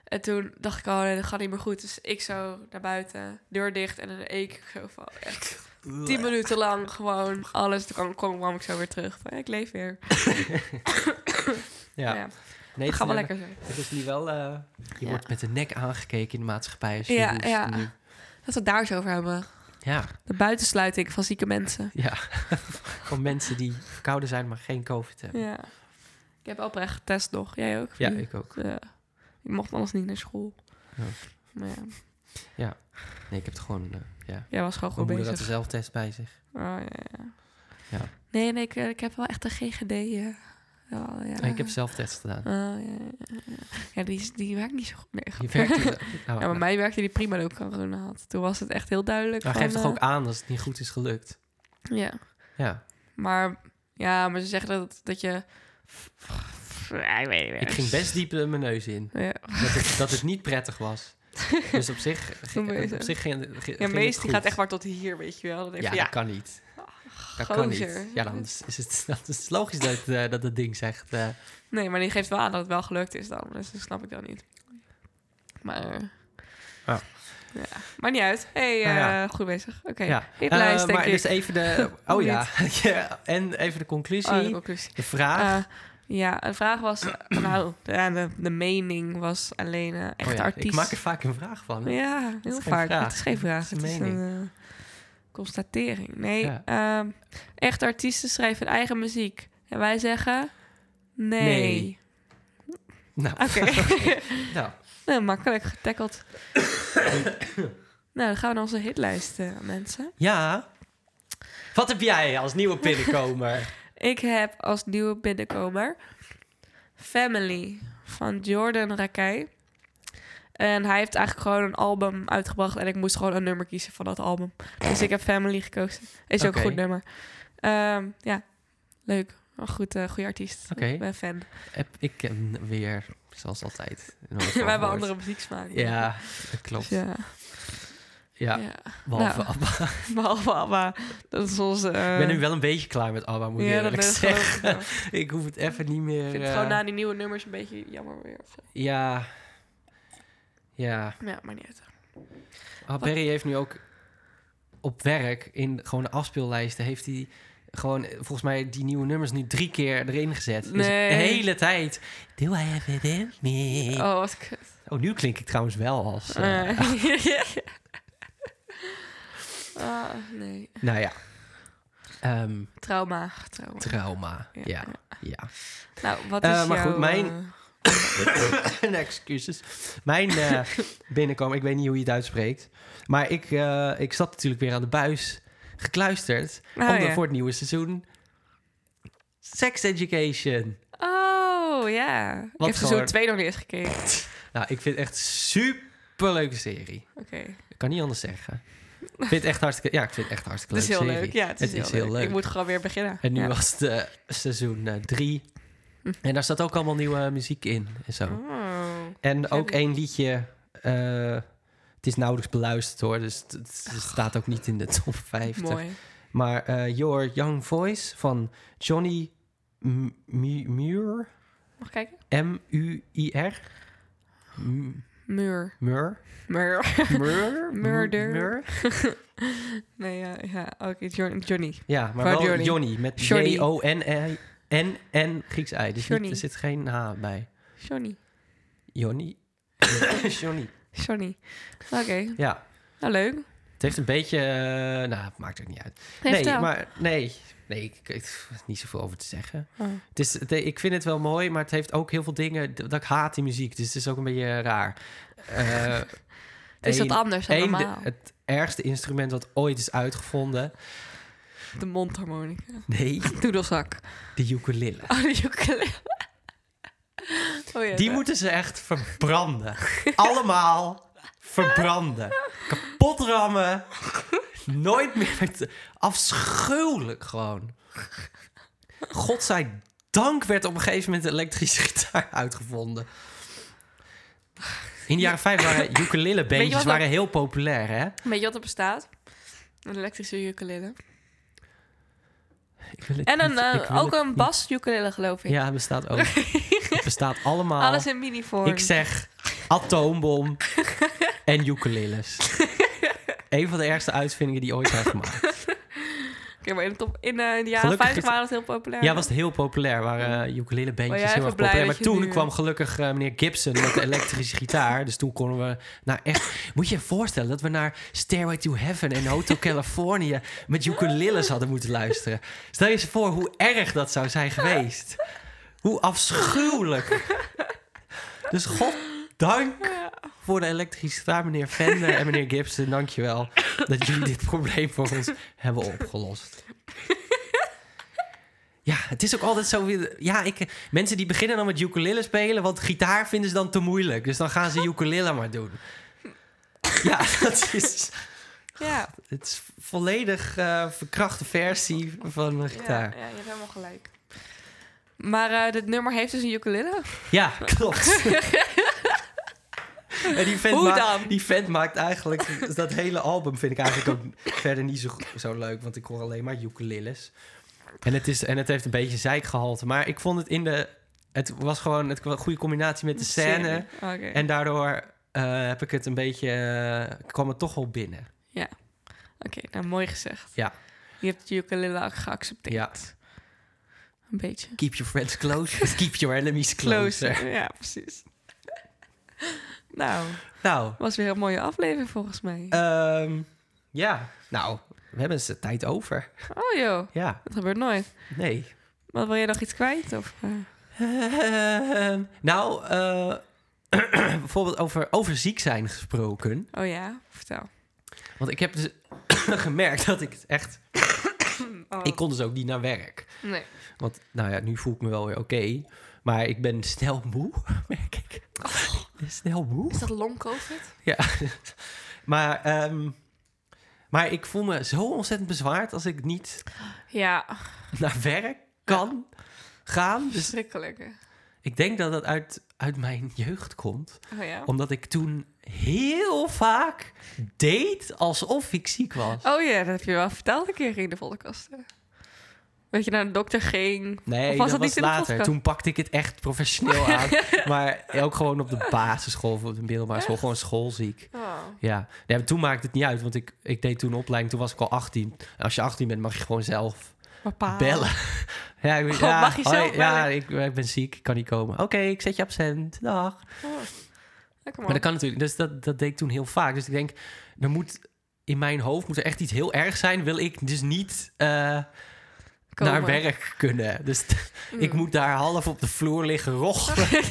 [SPEAKER 1] En toen dacht ik al, nee, dat gaat niet meer goed. Dus ik zo naar buiten, deur dicht en dan ik zo van... Echt tien minuten lang gewoon alles. Toen kwam, kwam, kwam ik zo weer terug. Van, ik leef weer.
[SPEAKER 2] Ja.
[SPEAKER 1] Ja, ja. Dat
[SPEAKER 2] Nee,
[SPEAKER 1] gaat
[SPEAKER 2] het is-
[SPEAKER 1] wel lekker zo.
[SPEAKER 2] Het is nu wel... eh, je
[SPEAKER 1] Ja.
[SPEAKER 2] wordt met de nek aangekeken in de maatschappij als je
[SPEAKER 1] Ja,
[SPEAKER 2] hoest
[SPEAKER 1] ja.
[SPEAKER 2] nu.
[SPEAKER 1] Laten we het daar eens over hebben.
[SPEAKER 2] Ja,
[SPEAKER 1] De buitensluiting van zieke mensen.
[SPEAKER 2] ja. Van mensen die verkouden zijn, maar geen covid hebben.
[SPEAKER 1] Ja. Ik heb oprecht getest nog. Jij ook?
[SPEAKER 2] Ja, ik ook.
[SPEAKER 1] Ja. Ik mocht anders niet naar school.
[SPEAKER 2] Ja.
[SPEAKER 1] Maar ja,
[SPEAKER 2] Nee, ik heb het gewoon... eh, ja.
[SPEAKER 1] jij was gewoon
[SPEAKER 2] Mijn
[SPEAKER 1] goed
[SPEAKER 2] moeder
[SPEAKER 1] bezig.
[SPEAKER 2] had een zelftest bij zich.
[SPEAKER 1] Oh, ja, ja.
[SPEAKER 2] Ja.
[SPEAKER 1] Nee, nee, ik, eh, ik heb wel echt een GGD. eh, wel, ja.
[SPEAKER 2] En Ah, ik heb zelftest gedaan.
[SPEAKER 1] Oh, ja, ja, ja, ja. Ja, die, is- die werkt niet zo goed. Nee,
[SPEAKER 2] Je
[SPEAKER 1] grapje.
[SPEAKER 2] werkt het- nou,
[SPEAKER 1] Ja, maar mij werkte die prima toen ik corona had. Toen was het echt heel duidelijk.
[SPEAKER 2] maar
[SPEAKER 1] van,
[SPEAKER 2] geef toch
[SPEAKER 1] eh,
[SPEAKER 2] ook aan als het niet goed is gelukt.
[SPEAKER 1] Ja,
[SPEAKER 2] Ja,
[SPEAKER 1] maar, ja, maar ze zeggen dat, dat je... Ja, ik weet niet meer.
[SPEAKER 2] ik ging best diep eh, mijn neus in.
[SPEAKER 1] Ja,
[SPEAKER 2] Dat het, dat het niet prettig was. Dus op zich,
[SPEAKER 1] Doe maar eens,
[SPEAKER 2] op
[SPEAKER 1] hè.
[SPEAKER 2] zich ging, ging
[SPEAKER 1] ja
[SPEAKER 2] het
[SPEAKER 1] Mees die
[SPEAKER 2] goed.
[SPEAKER 1] gaat echt maar tot hier, weet je wel. Dan denk ik
[SPEAKER 2] Ja,
[SPEAKER 1] van, ja,
[SPEAKER 2] dat kan niet. Dat kan
[SPEAKER 1] gozer.
[SPEAKER 2] niet. Ja, dan is is het, dat is logisch dat, eh, dat het ding zegt... eh,
[SPEAKER 1] Nee, maar die geeft wel aan dat het wel gelukt is dan. Dus dat snap ik dan niet. Maar...
[SPEAKER 2] Ah.
[SPEAKER 1] Ja, maakt niet uit. hey,
[SPEAKER 2] Nou
[SPEAKER 1] eh,
[SPEAKER 2] ja.
[SPEAKER 1] goed bezig. Oké,
[SPEAKER 2] Ja,
[SPEAKER 1] hit lijst,
[SPEAKER 2] Eh,
[SPEAKER 1] denk
[SPEAKER 2] maar
[SPEAKER 1] ik.
[SPEAKER 2] dus even de. Oh
[SPEAKER 1] Niet.
[SPEAKER 2] ja. ja, en even de conclusie.
[SPEAKER 1] Oh, de conclusie.
[SPEAKER 2] de vraag.
[SPEAKER 1] Eh, ja, een vraag was... nou, de, ja, de, de mening was alleen eh echt
[SPEAKER 2] Oh ja,
[SPEAKER 1] artiest.
[SPEAKER 2] Ik maak er vaak een vraag van. hè?
[SPEAKER 1] Ja,
[SPEAKER 2] is
[SPEAKER 1] heel
[SPEAKER 2] geen
[SPEAKER 1] vaak.
[SPEAKER 2] vraag.
[SPEAKER 1] Het is geen vraag.
[SPEAKER 2] Het
[SPEAKER 1] Het
[SPEAKER 2] is
[SPEAKER 1] is
[SPEAKER 2] een
[SPEAKER 1] een, eh, constatering. Nee,
[SPEAKER 2] Ja.
[SPEAKER 1] ehm, echt artiesten schrijven hun eigen muziek. En wij zeggen... Nee.
[SPEAKER 2] Nee. Nou,
[SPEAKER 1] Oké.
[SPEAKER 2] nou,
[SPEAKER 1] Nou, makkelijk getackled. nou, dan gaan we naar onze hitlijst, eh, mensen.
[SPEAKER 2] ja. Wat heb jij als nieuwe binnenkomer?
[SPEAKER 1] Ik heb als nieuwe binnenkomer Family van Jordan Rakij. En hij heeft eigenlijk gewoon een album uitgebracht. En ik moest gewoon een nummer kiezen van dat album. Dus ik heb Family gekozen. Is ook
[SPEAKER 2] Oké.
[SPEAKER 1] een goed nummer. Ehm, ja, leuk. Een goed, eh goede artiest.
[SPEAKER 2] Oké. Oh,
[SPEAKER 1] Ik ben fan.
[SPEAKER 2] Heb ik hem weer, zoals altijd. nooit
[SPEAKER 1] We hebben
[SPEAKER 2] gehoord.
[SPEAKER 1] andere muzieksmaak.
[SPEAKER 2] Ja, dat klopt.
[SPEAKER 1] Dus
[SPEAKER 2] Ja,
[SPEAKER 1] ja. ja.
[SPEAKER 2] behalve
[SPEAKER 1] Nou. eh,
[SPEAKER 2] Abba.
[SPEAKER 1] Behalve Abba. Dat is onze...
[SPEAKER 2] Ik ben nu wel een beetje klaar met Abba, moet ik eerlijk
[SPEAKER 1] ben ik
[SPEAKER 2] zeggen.
[SPEAKER 1] geloof ik wel.
[SPEAKER 2] Ik hoef het even niet meer...
[SPEAKER 1] Ik vind het
[SPEAKER 2] eh,
[SPEAKER 1] gewoon na die nieuwe nummers een beetje jammer weer. of zo.
[SPEAKER 2] Ja. Ja.
[SPEAKER 1] Ja, maar niet uit.
[SPEAKER 2] Ah, Barry heeft nu ook op werk in gewoon de afspeellijsten heeft hij gewoon eh, volgens mij die nieuwe nummers nu drie keer erin gezet. Dus de
[SPEAKER 1] Nee.
[SPEAKER 2] hele tijd. Do I have it in me? Oh.
[SPEAKER 1] Oh, wat kut.
[SPEAKER 2] nu klink ik trouwens wel als... eh,
[SPEAKER 1] Eh. Ah, nee.
[SPEAKER 2] Nou ja. Ehm,
[SPEAKER 1] Trauma, trauma.
[SPEAKER 2] trauma.
[SPEAKER 1] Ja.
[SPEAKER 2] Ja. ja.
[SPEAKER 1] nou, wat is
[SPEAKER 2] Eh, maar goed,
[SPEAKER 1] jouw,
[SPEAKER 2] mijn-
[SPEAKER 1] eh,
[SPEAKER 2] En excuses. Mijn eh, binnenkomen, ik weet niet hoe je het uitspreekt. Maar ik, eh, ik zat natuurlijk weer aan de buis gekluisterd.
[SPEAKER 1] Ah,
[SPEAKER 2] omdat
[SPEAKER 1] ja.
[SPEAKER 2] voor het nieuwe seizoen. Sex Education.
[SPEAKER 1] Oh, ja. Ik
[SPEAKER 2] Wat
[SPEAKER 1] heb seizoen
[SPEAKER 2] gewoon-
[SPEAKER 1] 2 nog niet eens gekeken.
[SPEAKER 2] Nou, ik vind het echt super leuke serie.
[SPEAKER 1] Oké.
[SPEAKER 2] Ik kan niet anders zeggen. Ik vind het echt hartstikke, ja, ik vind het echt hartstikke
[SPEAKER 1] Het is
[SPEAKER 2] leuke
[SPEAKER 1] heel
[SPEAKER 2] serie.
[SPEAKER 1] leuk. Ja, het is, heel, leuk. Ik moet gewoon weer beginnen.
[SPEAKER 2] En nu
[SPEAKER 1] ja. Hm.
[SPEAKER 2] was het eh, seizoen 3. En daar staat ook allemaal nieuwe eh, muziek in en zo.
[SPEAKER 1] Oh.
[SPEAKER 2] En ook
[SPEAKER 1] die-
[SPEAKER 2] één liedje. eh, het is nauwelijks beluisterd hoor, dus het, het staat ook niet in de top 50.
[SPEAKER 1] Oh. Mooi.
[SPEAKER 2] Maar eh, Your Young Voice van Johnny M- Mu- Muir.
[SPEAKER 1] Mag ik kijken?
[SPEAKER 2] M-U-I-R. M-
[SPEAKER 1] Muur.
[SPEAKER 2] Mur.
[SPEAKER 1] Muur.
[SPEAKER 2] Mur.
[SPEAKER 1] Murder.
[SPEAKER 2] Mur.
[SPEAKER 1] Nee, ja, ja oké. John- Johnny.
[SPEAKER 2] Ja, maar
[SPEAKER 1] Van
[SPEAKER 2] wel
[SPEAKER 1] Johnny.
[SPEAKER 2] Johnny. met
[SPEAKER 1] Johnny.
[SPEAKER 2] J-O-N-I. En, en Grieks ei. Dus niet-
[SPEAKER 1] Johnny.
[SPEAKER 2] er zit geen H bij.
[SPEAKER 1] Johnny.
[SPEAKER 2] Johnny. Johnny.
[SPEAKER 1] Johnny. Oké.
[SPEAKER 2] Ja.
[SPEAKER 1] Nou, leuk.
[SPEAKER 2] Het heeft een beetje... eh, nou, maakt ook niet uit.
[SPEAKER 1] Nee,
[SPEAKER 2] nee,
[SPEAKER 1] vertel.
[SPEAKER 2] maar nee, nee, ik, ik er is niet zoveel over te zeggen.
[SPEAKER 1] Oh.
[SPEAKER 2] Het is, het- ik vind het wel mooi, maar het heeft ook heel veel dingen d- dat ik haat in muziek. Dus het is ook een beetje raar. Eh,
[SPEAKER 1] Het is
[SPEAKER 2] één-
[SPEAKER 1] wat anders dan
[SPEAKER 2] één, de-
[SPEAKER 1] normaal. De,
[SPEAKER 2] het ergste instrument dat ooit is uitgevonden.
[SPEAKER 1] mondharmonica.
[SPEAKER 2] Nee,
[SPEAKER 1] Doedelzak.
[SPEAKER 2] de ukulele.
[SPEAKER 1] Oh, de ukulele. Oh, ja,
[SPEAKER 2] Die
[SPEAKER 1] dat-
[SPEAKER 2] moeten ze echt verbranden. Allemaal verbranden. Kapot rammen. Nooit meer. met- Afschuwelijk gewoon. Godzijdank werd op een gegeven moment de elektrische gitaar uitgevonden. In de jaren 5 waren
[SPEAKER 1] Weet je
[SPEAKER 2] ukulelebeentjes
[SPEAKER 1] wat
[SPEAKER 2] waren heel populair, hè?
[SPEAKER 1] Weet je wat er bestaat? Een elektrische ukulele.
[SPEAKER 2] Ik wil het
[SPEAKER 1] En een,
[SPEAKER 2] niet-
[SPEAKER 1] eh,
[SPEAKER 2] ik wil
[SPEAKER 1] ook
[SPEAKER 2] het
[SPEAKER 1] een
[SPEAKER 2] niet-
[SPEAKER 1] bas ukulele, geloof ik.
[SPEAKER 2] Ja, het bestaat ook. Het bestaat allemaal.
[SPEAKER 1] Alles in mini-vorm.
[SPEAKER 2] Ik zeg atoombom en ukuleles. Een van de ergste uitvindingen die ooit zijn gemaakt.
[SPEAKER 1] Oké, maar in de, top, in, eh, in de jaren
[SPEAKER 2] Gelukkig
[SPEAKER 1] 50
[SPEAKER 2] is-
[SPEAKER 1] waren het heel populair.
[SPEAKER 2] Ja, was het heel populair. Waren uh,
[SPEAKER 1] Ben
[SPEAKER 2] ukulelebeentjes
[SPEAKER 1] jij
[SPEAKER 2] heel
[SPEAKER 1] even
[SPEAKER 2] erg
[SPEAKER 1] blij
[SPEAKER 2] populair.
[SPEAKER 1] dat
[SPEAKER 2] Maar
[SPEAKER 1] je
[SPEAKER 2] toen
[SPEAKER 1] nu-
[SPEAKER 2] kwam gelukkig eh, meneer Gibson met de elektrische gitaar. Dus toen konden we nou echt... Moet je je voorstellen dat we naar Stairway to Heaven en Hotel California... met ukuleles hadden moeten luisteren. Stel je eens voor hoe erg dat zou zijn geweest. Hoe afschuwelijk. Dus goddank voor de elektrische gitaar, meneer Vender en meneer Gibson. Dankjewel dat jullie dit probleem voor ons hebben opgelost. Ja, het is ook altijd zo weer... Ja, ik, mensen die beginnen dan met ukulele spelen... want gitaar vinden ze dan te moeilijk. Dus dan gaan ze ukulele maar doen. Ja, dat is...
[SPEAKER 1] Ja,
[SPEAKER 2] Het is volledig eh, verkrachte versie van een
[SPEAKER 1] ja,
[SPEAKER 2] gitaar.
[SPEAKER 1] ja, je hebt helemaal gelijk. Maar eh, dit nummer heeft dus een ukulele.
[SPEAKER 2] Ja, klopt. en die vent,
[SPEAKER 1] Hoe
[SPEAKER 2] maakt-
[SPEAKER 1] dan?
[SPEAKER 2] die vent maakt eigenlijk... Dat hele album vind ik eigenlijk ook verder niet zo, go- zo leuk. Want ik hoor alleen maar ukuleles. En het, is, en het heeft een beetje zeikgehalte. Maar ik vond het in de... Het was gewoon het was een goede combinatie met de scène.
[SPEAKER 1] Oké.
[SPEAKER 2] En daardoor eh, heb ik het een beetje... eh, kwam het toch wel binnen.
[SPEAKER 1] Oké, nou mooi gezegd.
[SPEAKER 2] Ja.
[SPEAKER 1] Je hebt de ukulele ook geaccepteerd.
[SPEAKER 2] Ja.
[SPEAKER 1] Een beetje.
[SPEAKER 2] Keep your friends close. but keep your enemies closer.
[SPEAKER 1] Closer. Ja, precies. nou,
[SPEAKER 2] Nou,
[SPEAKER 1] was weer een mooie aflevering volgens mij.
[SPEAKER 2] Ehm, ja, nou, we hebben eens de tijd over.
[SPEAKER 1] oh joh,
[SPEAKER 2] Ja,
[SPEAKER 1] dat gebeurt nooit.
[SPEAKER 2] nee.
[SPEAKER 1] Maar wil je nog iets kwijt? Of, eh?
[SPEAKER 2] Ehm, nou, eh, bijvoorbeeld over, over ziek zijn gesproken.
[SPEAKER 1] Oh ja, vertel.
[SPEAKER 2] Want ik heb dus gemerkt dat ik het echt...
[SPEAKER 1] Oh,
[SPEAKER 2] Ik kon dus ook niet naar werk.
[SPEAKER 1] Nee.
[SPEAKER 2] Want, nou ja, nu voel ik me wel weer oké. maar ik ben snel moe, merk ik. Ik ben snel moe.
[SPEAKER 1] Oh. Is dat long covid?
[SPEAKER 2] Ja, maar... ehm, maar ik voel me zo ontzettend bezwaard als ik niet
[SPEAKER 1] Ja,
[SPEAKER 2] Dus- naar werk kan gaan. Dus
[SPEAKER 1] verschrikkelijk. hè?
[SPEAKER 2] Ik denk dat dat uit, uit mijn jeugd komt.
[SPEAKER 1] Oh ja.
[SPEAKER 2] Omdat ik toen heel vaak deed alsof ik ziek was.
[SPEAKER 1] Oh ja, dat heb je wel verteld een keer in de podcast. hè? Dat je naar de dokter ging.
[SPEAKER 2] Nee,
[SPEAKER 1] Of was
[SPEAKER 2] dat,
[SPEAKER 1] dat niet in
[SPEAKER 2] was
[SPEAKER 1] de
[SPEAKER 2] later.
[SPEAKER 1] podcast?
[SPEAKER 2] Toen pakte ik het echt professioneel aan. maar ook gewoon op de basisschool, of op de middelbare school. Gewoon schoolziek.
[SPEAKER 1] Oh.
[SPEAKER 2] Ja, nee, maar toen maakte het niet uit, want ik, ik deed toen een opleiding. Toen was ik al 18. En als je 18 bent, mag je gewoon zelf
[SPEAKER 1] Papa.
[SPEAKER 2] Bellen. Ja, ik,
[SPEAKER 1] Oh,
[SPEAKER 2] ja,
[SPEAKER 1] Ah. mag je zo
[SPEAKER 2] hoi, ja
[SPEAKER 1] bellen?
[SPEAKER 2] ik, ik ben ziek, ik kan niet komen. Oké, ik zet je op zend. Dag.
[SPEAKER 1] Oh, Lekker
[SPEAKER 2] Maar
[SPEAKER 1] man.
[SPEAKER 2] dat kan natuurlijk. Dus dat, dat deed ik toen heel vaak. Dus ik denk, er moet in mijn hoofd moet er echt iets heel erg zijn. Wil ik dus niet eh,
[SPEAKER 1] Komen.
[SPEAKER 2] naar werk kunnen. Dus t- ik
[SPEAKER 1] Mm.
[SPEAKER 2] moet daar half op de vloer liggen rochelen.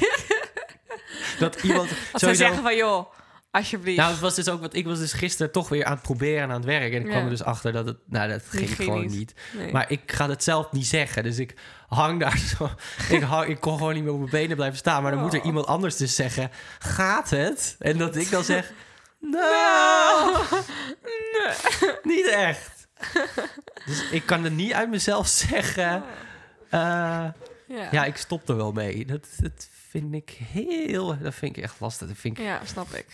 [SPEAKER 2] dat iemand
[SPEAKER 1] Als zij
[SPEAKER 2] sowieso...
[SPEAKER 1] zeggen van, joh, alsjeblieft.
[SPEAKER 2] Nou, het was dus ook, want ik was dus gisteren toch weer aan het proberen en aan het werk. En ik kwam
[SPEAKER 1] Ja.
[SPEAKER 2] er dus achter dat het, nou, dat ging,
[SPEAKER 1] ging
[SPEAKER 2] gewoon
[SPEAKER 1] niet.
[SPEAKER 2] niet.
[SPEAKER 1] Nee.
[SPEAKER 2] Maar ik ga het zelf niet zeggen. Dus ik hang daar zo. ik, hang, ik kon gewoon niet meer op mijn benen blijven staan. Maar dan moet er
[SPEAKER 1] Oh.
[SPEAKER 2] iemand anders dus zeggen: Gaat het? En dat ik dan zeg: Nou,
[SPEAKER 1] Nou.
[SPEAKER 2] niet echt. dus ik kan het niet uit mezelf zeggen. Eh,
[SPEAKER 1] Ja.
[SPEAKER 2] ja, ik stop er wel mee. Dat, dat vind ik heel. Dat vind ik echt lastig. Dat vind ik.
[SPEAKER 1] Ja, snap ik.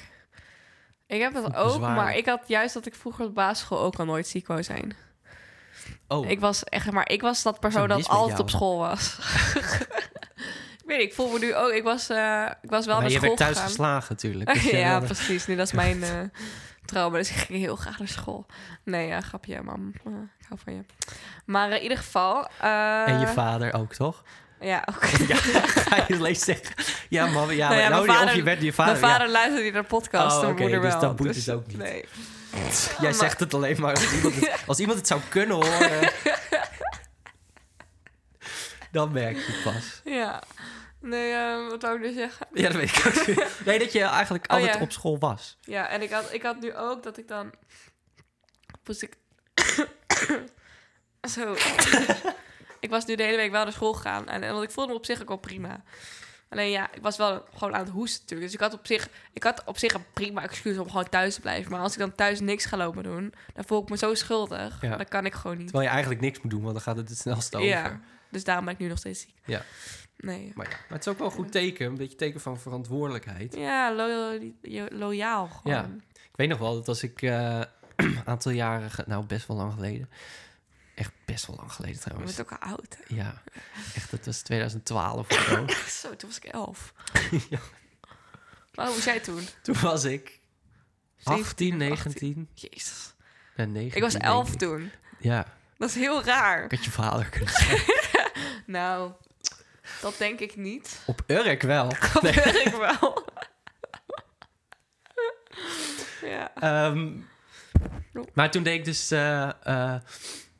[SPEAKER 1] Ik heb het
[SPEAKER 2] Goed
[SPEAKER 1] ook,
[SPEAKER 2] bezwaar.
[SPEAKER 1] maar ik had juist dat ik vroeger op de basisschool ook al nooit ziek wou zijn.
[SPEAKER 2] Oh,
[SPEAKER 1] Ik was echt, maar ik was dat persoon
[SPEAKER 2] Wat is er
[SPEAKER 1] dat
[SPEAKER 2] mis
[SPEAKER 1] altijd
[SPEAKER 2] met
[SPEAKER 1] op school was. ik weet niet, ik voel me nu ook, ik was, eh, ik was wel
[SPEAKER 2] maar
[SPEAKER 1] naar
[SPEAKER 2] je
[SPEAKER 1] school
[SPEAKER 2] werd thuis
[SPEAKER 1] gegaan.
[SPEAKER 2] geslagen natuurlijk. Dus jij
[SPEAKER 1] ja,
[SPEAKER 2] wilde-
[SPEAKER 1] precies. Nee, dat is mijn eh trauma. Dus ik ging heel graag naar school. Nee, ja, grapje, mam. Eh, ik hou van je. Maar eh, in ieder geval... eh,
[SPEAKER 2] en je vader ook, toch?
[SPEAKER 1] Ja, ook.
[SPEAKER 2] Ja, ga je alleen zeggen. Ja, man, ja,
[SPEAKER 1] Nou ja,
[SPEAKER 2] maar
[SPEAKER 1] mijn
[SPEAKER 2] nou, die- of
[SPEAKER 1] vader-
[SPEAKER 2] je werd je vader.
[SPEAKER 1] Mijn vader luistert niet naar de podcast,
[SPEAKER 2] Oh,
[SPEAKER 1] mijn
[SPEAKER 2] oké,
[SPEAKER 1] moeder
[SPEAKER 2] dus
[SPEAKER 1] wel.
[SPEAKER 2] dat boeit dus ook niet.
[SPEAKER 1] Nee.
[SPEAKER 2] ja. Jij zegt het alleen maar als iemand het, als iemand het zou kunnen horen. dan merk je het pas.
[SPEAKER 1] Ja. Nee, eh, wat wou ik nu zeggen?
[SPEAKER 2] Ja, dat weet ik ook. niet. Nee, dat je eigenlijk
[SPEAKER 1] Oh,
[SPEAKER 2] altijd
[SPEAKER 1] ja.
[SPEAKER 2] op school was.
[SPEAKER 1] Ja, en ik had, ik had nu ook dat ik dan... Moest ik... Zo. ik was nu de hele week wel naar school gegaan. En, en want ik voelde me op zich ook wel prima. Alleen ja, ik was wel gewoon aan het hoesten natuurlijk. Dus ik had op zich, ik had op zich een prima excuus om gewoon thuis te blijven. Maar als ik dan thuis niks ga lopen doen, dan voel ik me zo schuldig.
[SPEAKER 2] Ja.
[SPEAKER 1] Dan kan ik gewoon niet.
[SPEAKER 2] Terwijl je eigenlijk niks moet doen, want dan gaat het het snelst over.
[SPEAKER 1] Ja, dus daarom ben ik nu nog steeds ziek.
[SPEAKER 2] Ja.
[SPEAKER 1] Nee.
[SPEAKER 2] Maar, ja. maar het is ook wel een goed teken. Een beetje teken van verantwoordelijkheid.
[SPEAKER 1] Ja, lo- lo- loyaal gewoon.
[SPEAKER 2] Ik weet nog wel dat als ik eh, een aantal jaren... ge- Nou, best wel lang geleden. Echt best wel lang geleden
[SPEAKER 1] Je
[SPEAKER 2] trouwens.
[SPEAKER 1] bent ook al oud. hè?
[SPEAKER 2] Ja, echt, dat was 2012 of zo.
[SPEAKER 1] Zo, toen was ik elf.
[SPEAKER 2] Ja.
[SPEAKER 1] Maar hoe was jij toen?
[SPEAKER 2] Toen was ik 18,
[SPEAKER 1] 17,
[SPEAKER 2] 19.
[SPEAKER 1] Jezus.
[SPEAKER 2] Ja, 19
[SPEAKER 1] Ik was
[SPEAKER 2] eh, denk
[SPEAKER 1] elf
[SPEAKER 2] ik.
[SPEAKER 1] toen.
[SPEAKER 2] Ja,
[SPEAKER 1] Dat is heel raar.
[SPEAKER 2] ik had je vader kunnen zijn.
[SPEAKER 1] Nou, dat denk ik niet.
[SPEAKER 2] Op Urk wel.
[SPEAKER 1] Dat
[SPEAKER 2] Nee,
[SPEAKER 1] weet ik wel. ja.
[SPEAKER 2] ehm, maar toen deed ik dus... eh, eh,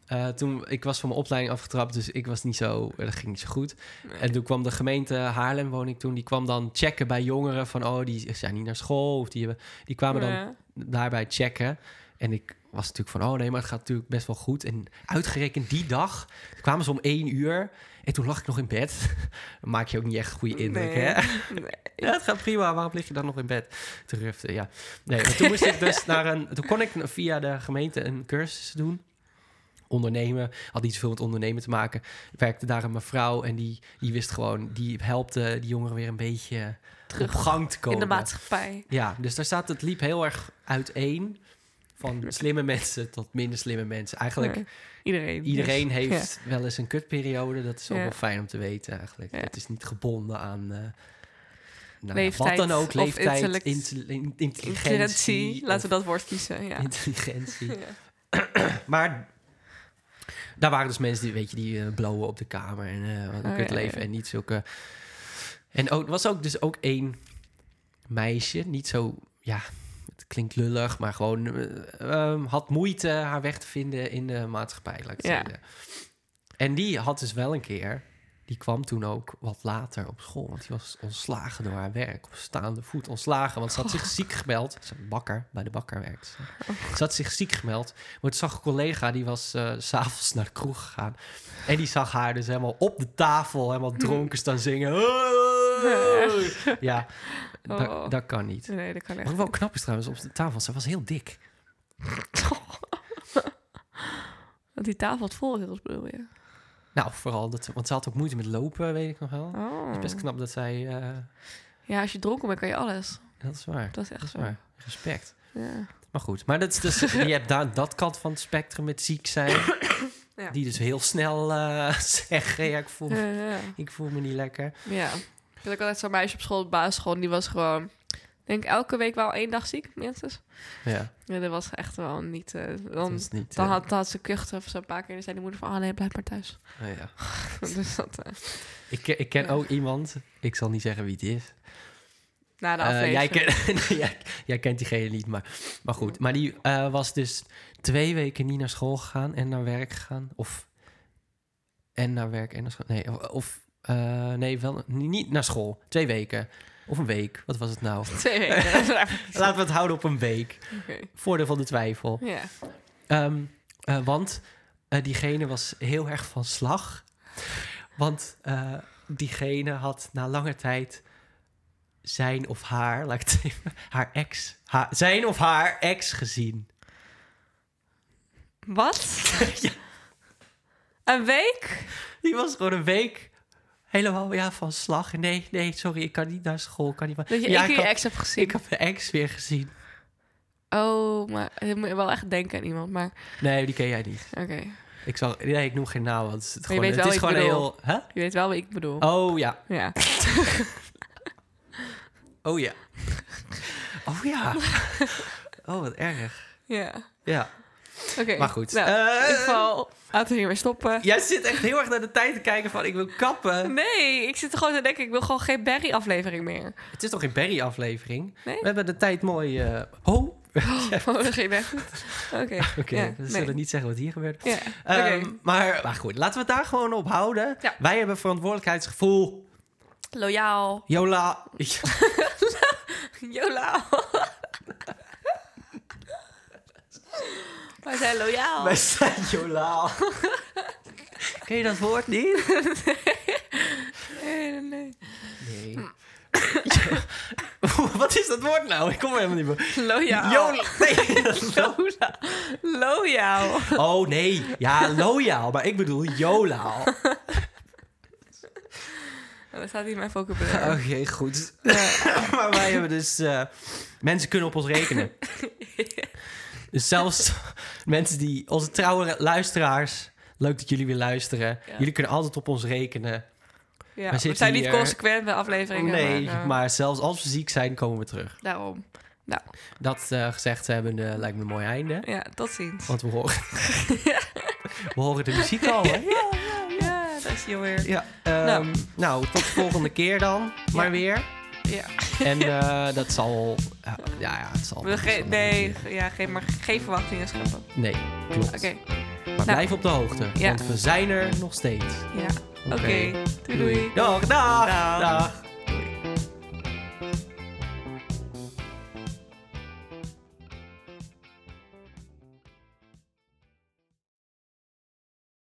[SPEAKER 2] eh, toen, ik was van mijn opleiding afgetrapt, dus ik was niet zo... Dat ging niet zo goed.
[SPEAKER 1] Nee.
[SPEAKER 2] En toen kwam de gemeente Haarlem, woon ik toen... Die kwam dan checken bij jongeren van... Oh, die zijn niet naar school. Of die, hebben, die kwamen dan
[SPEAKER 1] Ja.
[SPEAKER 2] daarbij checken. En ik was natuurlijk van, oh nee, maar het gaat natuurlijk best wel goed. En uitgerekend die dag kwamen ze om één uur. En toen lag ik nog in bed. Dan maak je ook niet echt een goede indruk,
[SPEAKER 1] Nee.
[SPEAKER 2] hè?
[SPEAKER 1] Nee.
[SPEAKER 2] Ja, het gaat prima. Waarom lig je dan nog in bed? Toen rufte, ja. Nee, maar toen moest ik dus naar een... Toen kon ik via de gemeente een cursus doen. Ondernemen. Had niet zoveel met ondernemen te maken. Werkte daar een mevrouw en die, die wist gewoon... Die helpte die jongeren weer een beetje
[SPEAKER 1] Terug
[SPEAKER 2] op gang te
[SPEAKER 1] In
[SPEAKER 2] komen.
[SPEAKER 1] de maatschappij.
[SPEAKER 2] Ja, dus daar staat, het liep heel erg uiteen. Van slimme mensen tot minder slimme mensen. Eigenlijk
[SPEAKER 1] Nee. Iedereen.
[SPEAKER 2] iedereen
[SPEAKER 1] Dus,
[SPEAKER 2] heeft wel eens een kutperiode. Dat is ook
[SPEAKER 1] Ja.
[SPEAKER 2] wel fijn om te weten eigenlijk.
[SPEAKER 1] Ja.
[SPEAKER 2] Het is niet gebonden aan... eh, nou ja,
[SPEAKER 1] Leeftijd
[SPEAKER 2] wat dan ook,
[SPEAKER 1] of
[SPEAKER 2] leeftijd,
[SPEAKER 1] intellect-
[SPEAKER 2] intel- in-
[SPEAKER 1] ja.
[SPEAKER 2] intelligentie.
[SPEAKER 1] Intelligentie. Laten we
[SPEAKER 2] of
[SPEAKER 1] dat woord kiezen. Ja.
[SPEAKER 2] Intelligentie.
[SPEAKER 1] Ja.
[SPEAKER 2] Maar daar waren dus mensen die, weet je, die eh blowen op de kamer en eh wat een
[SPEAKER 1] Oh,
[SPEAKER 2] kut
[SPEAKER 1] ja,
[SPEAKER 2] leven
[SPEAKER 1] ja.
[SPEAKER 2] en niet zulke. En ook, er was ook dus ook één meisje, niet zo, ja, het klinkt lullig, maar gewoon eh, ehm, had moeite haar weg te vinden in de maatschappij, laat ik het
[SPEAKER 1] Ja.
[SPEAKER 2] zeggen. En die had dus wel een keer, die kwam toen ook wat later op school, want die was ontslagen door haar werk, op staande voet ontslagen, want ze had zich
[SPEAKER 1] Oh.
[SPEAKER 2] ziek gemeld. Ze bakker, bij de bakker werkte ze. Ze had zich ziek gemeld. Maar toen zag een collega, die was eh, s s'avonds naar de kroeg gegaan. En die zag haar dus helemaal op de tafel, helemaal dronken staan zingen. Ja, dat,
[SPEAKER 1] Oh.
[SPEAKER 2] dat kan niet.
[SPEAKER 1] Nee, dat kan echt.
[SPEAKER 2] Wat wel knap is trouwens, op de tafel, ze was heel dik.
[SPEAKER 1] Want die tafel had vol heel bedoel je.
[SPEAKER 2] Nou, vooral, dat, ze- want ze had ook moeite met lopen, weet ik nog wel.
[SPEAKER 1] Oh.
[SPEAKER 2] Best knap dat zij... eh,
[SPEAKER 1] Ja, als je dronken bent, kan je alles.
[SPEAKER 2] dat is waar,
[SPEAKER 1] Dat is echt
[SPEAKER 2] dat is
[SPEAKER 1] zo.
[SPEAKER 2] waar. Respect.
[SPEAKER 1] Ja.
[SPEAKER 2] Maar goed, maar dat is dus, je hebt daar dat kant van het spectrum met ziek zijn.
[SPEAKER 1] Ja.
[SPEAKER 2] Die dus heel snel eh, zeggen, ja, ik voel,
[SPEAKER 1] Ja, ja.
[SPEAKER 2] ik voel me niet lekker.
[SPEAKER 1] ja. Ik had ook altijd zo'n meisje op school, op basisschool, en die was gewoon... denk elke week wel één dag ziek, minstens.
[SPEAKER 2] Ja,
[SPEAKER 1] Ja, dat was echt wel niet... eh,
[SPEAKER 2] dat
[SPEAKER 1] dan,
[SPEAKER 2] is niet...
[SPEAKER 1] dan,
[SPEAKER 2] eh,
[SPEAKER 1] had, dan had ze kuchten of zo een paar keer. En dan zei die moeder van, ah nee, blijf maar thuis.
[SPEAKER 2] nou ja.
[SPEAKER 1] dus dat... eh,
[SPEAKER 2] ik, ken- ik ken
[SPEAKER 1] Ja.
[SPEAKER 2] ook iemand, ik zal niet zeggen wie het is.
[SPEAKER 1] na de
[SPEAKER 2] Eh,
[SPEAKER 1] aflevering.
[SPEAKER 2] jij, kent- nee, jij, jij kent diegene niet, maar, maar goed. Maar die eh, was dus twee weken niet naar school gegaan en naar werk gegaan. Of en naar werk en naar school. Nee, of, of, eh, nee wel, niet naar school. Twee weken. Of een week. Wat was het nou?
[SPEAKER 1] Twee weken.
[SPEAKER 2] Laten we het houden op een week.
[SPEAKER 1] Oké.
[SPEAKER 2] Voordeel van de twijfel.
[SPEAKER 1] Ja.
[SPEAKER 2] Ehm, eh, want eh, diegene was heel erg van slag. Want eh, diegene had na lange tijd zijn of haar, laat ik het even, haar ex, haar- zijn of haar ex gezien.
[SPEAKER 1] Wat?
[SPEAKER 2] Ja.
[SPEAKER 1] Een week?
[SPEAKER 2] Die was gewoon een week helemaal ja, van slag. Nee, nee, sorry, ik kan niet naar school. Kan niet, maar-
[SPEAKER 1] Dat je
[SPEAKER 2] ja,
[SPEAKER 1] één keer
[SPEAKER 2] ik,
[SPEAKER 1] je
[SPEAKER 2] had-
[SPEAKER 1] ex hebt gezien.
[SPEAKER 2] ik heb mijn ex weer gezien.
[SPEAKER 1] Oh, maar dan moet je wel echt denken aan iemand. Maar
[SPEAKER 2] Nee, die ken jij niet.
[SPEAKER 1] oké,
[SPEAKER 2] Ik, zal, nee, ik noem geen naam,
[SPEAKER 1] Maar
[SPEAKER 2] want het,
[SPEAKER 1] je
[SPEAKER 2] gewoon,
[SPEAKER 1] weet
[SPEAKER 2] het is
[SPEAKER 1] wel
[SPEAKER 2] gewoon
[SPEAKER 1] wie ik
[SPEAKER 2] heel... Hè?
[SPEAKER 1] je weet wel wat ik bedoel.
[SPEAKER 2] Oh ja,
[SPEAKER 1] Ja.
[SPEAKER 2] Oh ja. Oh ja. Oh, wat erg.
[SPEAKER 1] ja.
[SPEAKER 2] Ja,
[SPEAKER 1] Oké.
[SPEAKER 2] maar goed.
[SPEAKER 1] Nou,
[SPEAKER 2] Eh,
[SPEAKER 1] in ieder geval, laten we hiermee stoppen.
[SPEAKER 2] Jij zit echt heel erg naar de tijd te kijken van ik wil kappen.
[SPEAKER 1] Nee, ik zit er gewoon te denken, ik wil gewoon geen Barry-aflevering meer.
[SPEAKER 2] Het is toch geen Berry-aflevering?
[SPEAKER 1] Nee?
[SPEAKER 2] We hebben de tijd mooi... eh, Oh,
[SPEAKER 1] Oh, dat ging echt goed. Oké.
[SPEAKER 2] oké.
[SPEAKER 1] Ja,
[SPEAKER 2] we
[SPEAKER 1] nee.
[SPEAKER 2] zullen niet zeggen wat hier gebeurt.
[SPEAKER 1] Ja,
[SPEAKER 2] Ehm,
[SPEAKER 1] oké.
[SPEAKER 2] maar, maar goed, laten we het daar gewoon op houden.
[SPEAKER 1] Ja.
[SPEAKER 2] Wij hebben verantwoordelijkheidsgevoel.
[SPEAKER 1] Loyaal.
[SPEAKER 2] Jola.
[SPEAKER 1] Jola. Wij zijn loyaal.
[SPEAKER 2] Wij zijn Jola. Ken je dat woord niet?
[SPEAKER 1] Nee, nee, nee.
[SPEAKER 2] Nee. wat is dat woord nou? Ik kom er helemaal niet meer.
[SPEAKER 1] Loyaal.
[SPEAKER 2] Jola. Nee, dat is wel-
[SPEAKER 1] Lola. Loyaal.
[SPEAKER 2] Oh nee, ja, loyaal, maar ik bedoel jolaal.
[SPEAKER 1] Oh, Dat staat hier in mijn vocabulaire.
[SPEAKER 2] Oké, goed. maar wij hebben dus... eh, mensen kunnen op ons rekenen. Dus zelfs mensen die... Onze trouwe luisteraars... Leuk dat jullie weer luisteren.
[SPEAKER 1] Ja.
[SPEAKER 2] Jullie kunnen altijd op ons rekenen.
[SPEAKER 1] Ja, we,
[SPEAKER 2] zitten
[SPEAKER 1] zijn niet
[SPEAKER 2] hier-
[SPEAKER 1] consequent bij afleveringen.
[SPEAKER 2] nee,
[SPEAKER 1] maar, eh,
[SPEAKER 2] maar zelfs als we ziek zijn, komen we terug.
[SPEAKER 1] Daarom. Nou,
[SPEAKER 2] Dat eh, gezegd hebben, lijkt me een mooi einde.
[SPEAKER 1] ja, tot ziens.
[SPEAKER 2] Want we horen... we horen de muziek al, hè?
[SPEAKER 1] Ja, dat is je weer.
[SPEAKER 2] Ja, ehm, nou, tot de volgende keer dan. Maar
[SPEAKER 1] Ja.
[SPEAKER 2] weer.
[SPEAKER 1] Ja.
[SPEAKER 2] En eh, dat zal. ja, ja, ja, het zal.
[SPEAKER 1] We ge-
[SPEAKER 2] het zal
[SPEAKER 1] nee,
[SPEAKER 2] niet.
[SPEAKER 1] ja, geen, maar geen verwachtingen scheppen. Oké, nou.
[SPEAKER 2] Nee, klopt. Maar blijf op de hoogte,
[SPEAKER 1] Ja.
[SPEAKER 2] want we zijn er nog steeds.
[SPEAKER 1] ja. Oké,
[SPEAKER 2] Oké.
[SPEAKER 1] doei. doei.
[SPEAKER 2] Dag, dag, dag.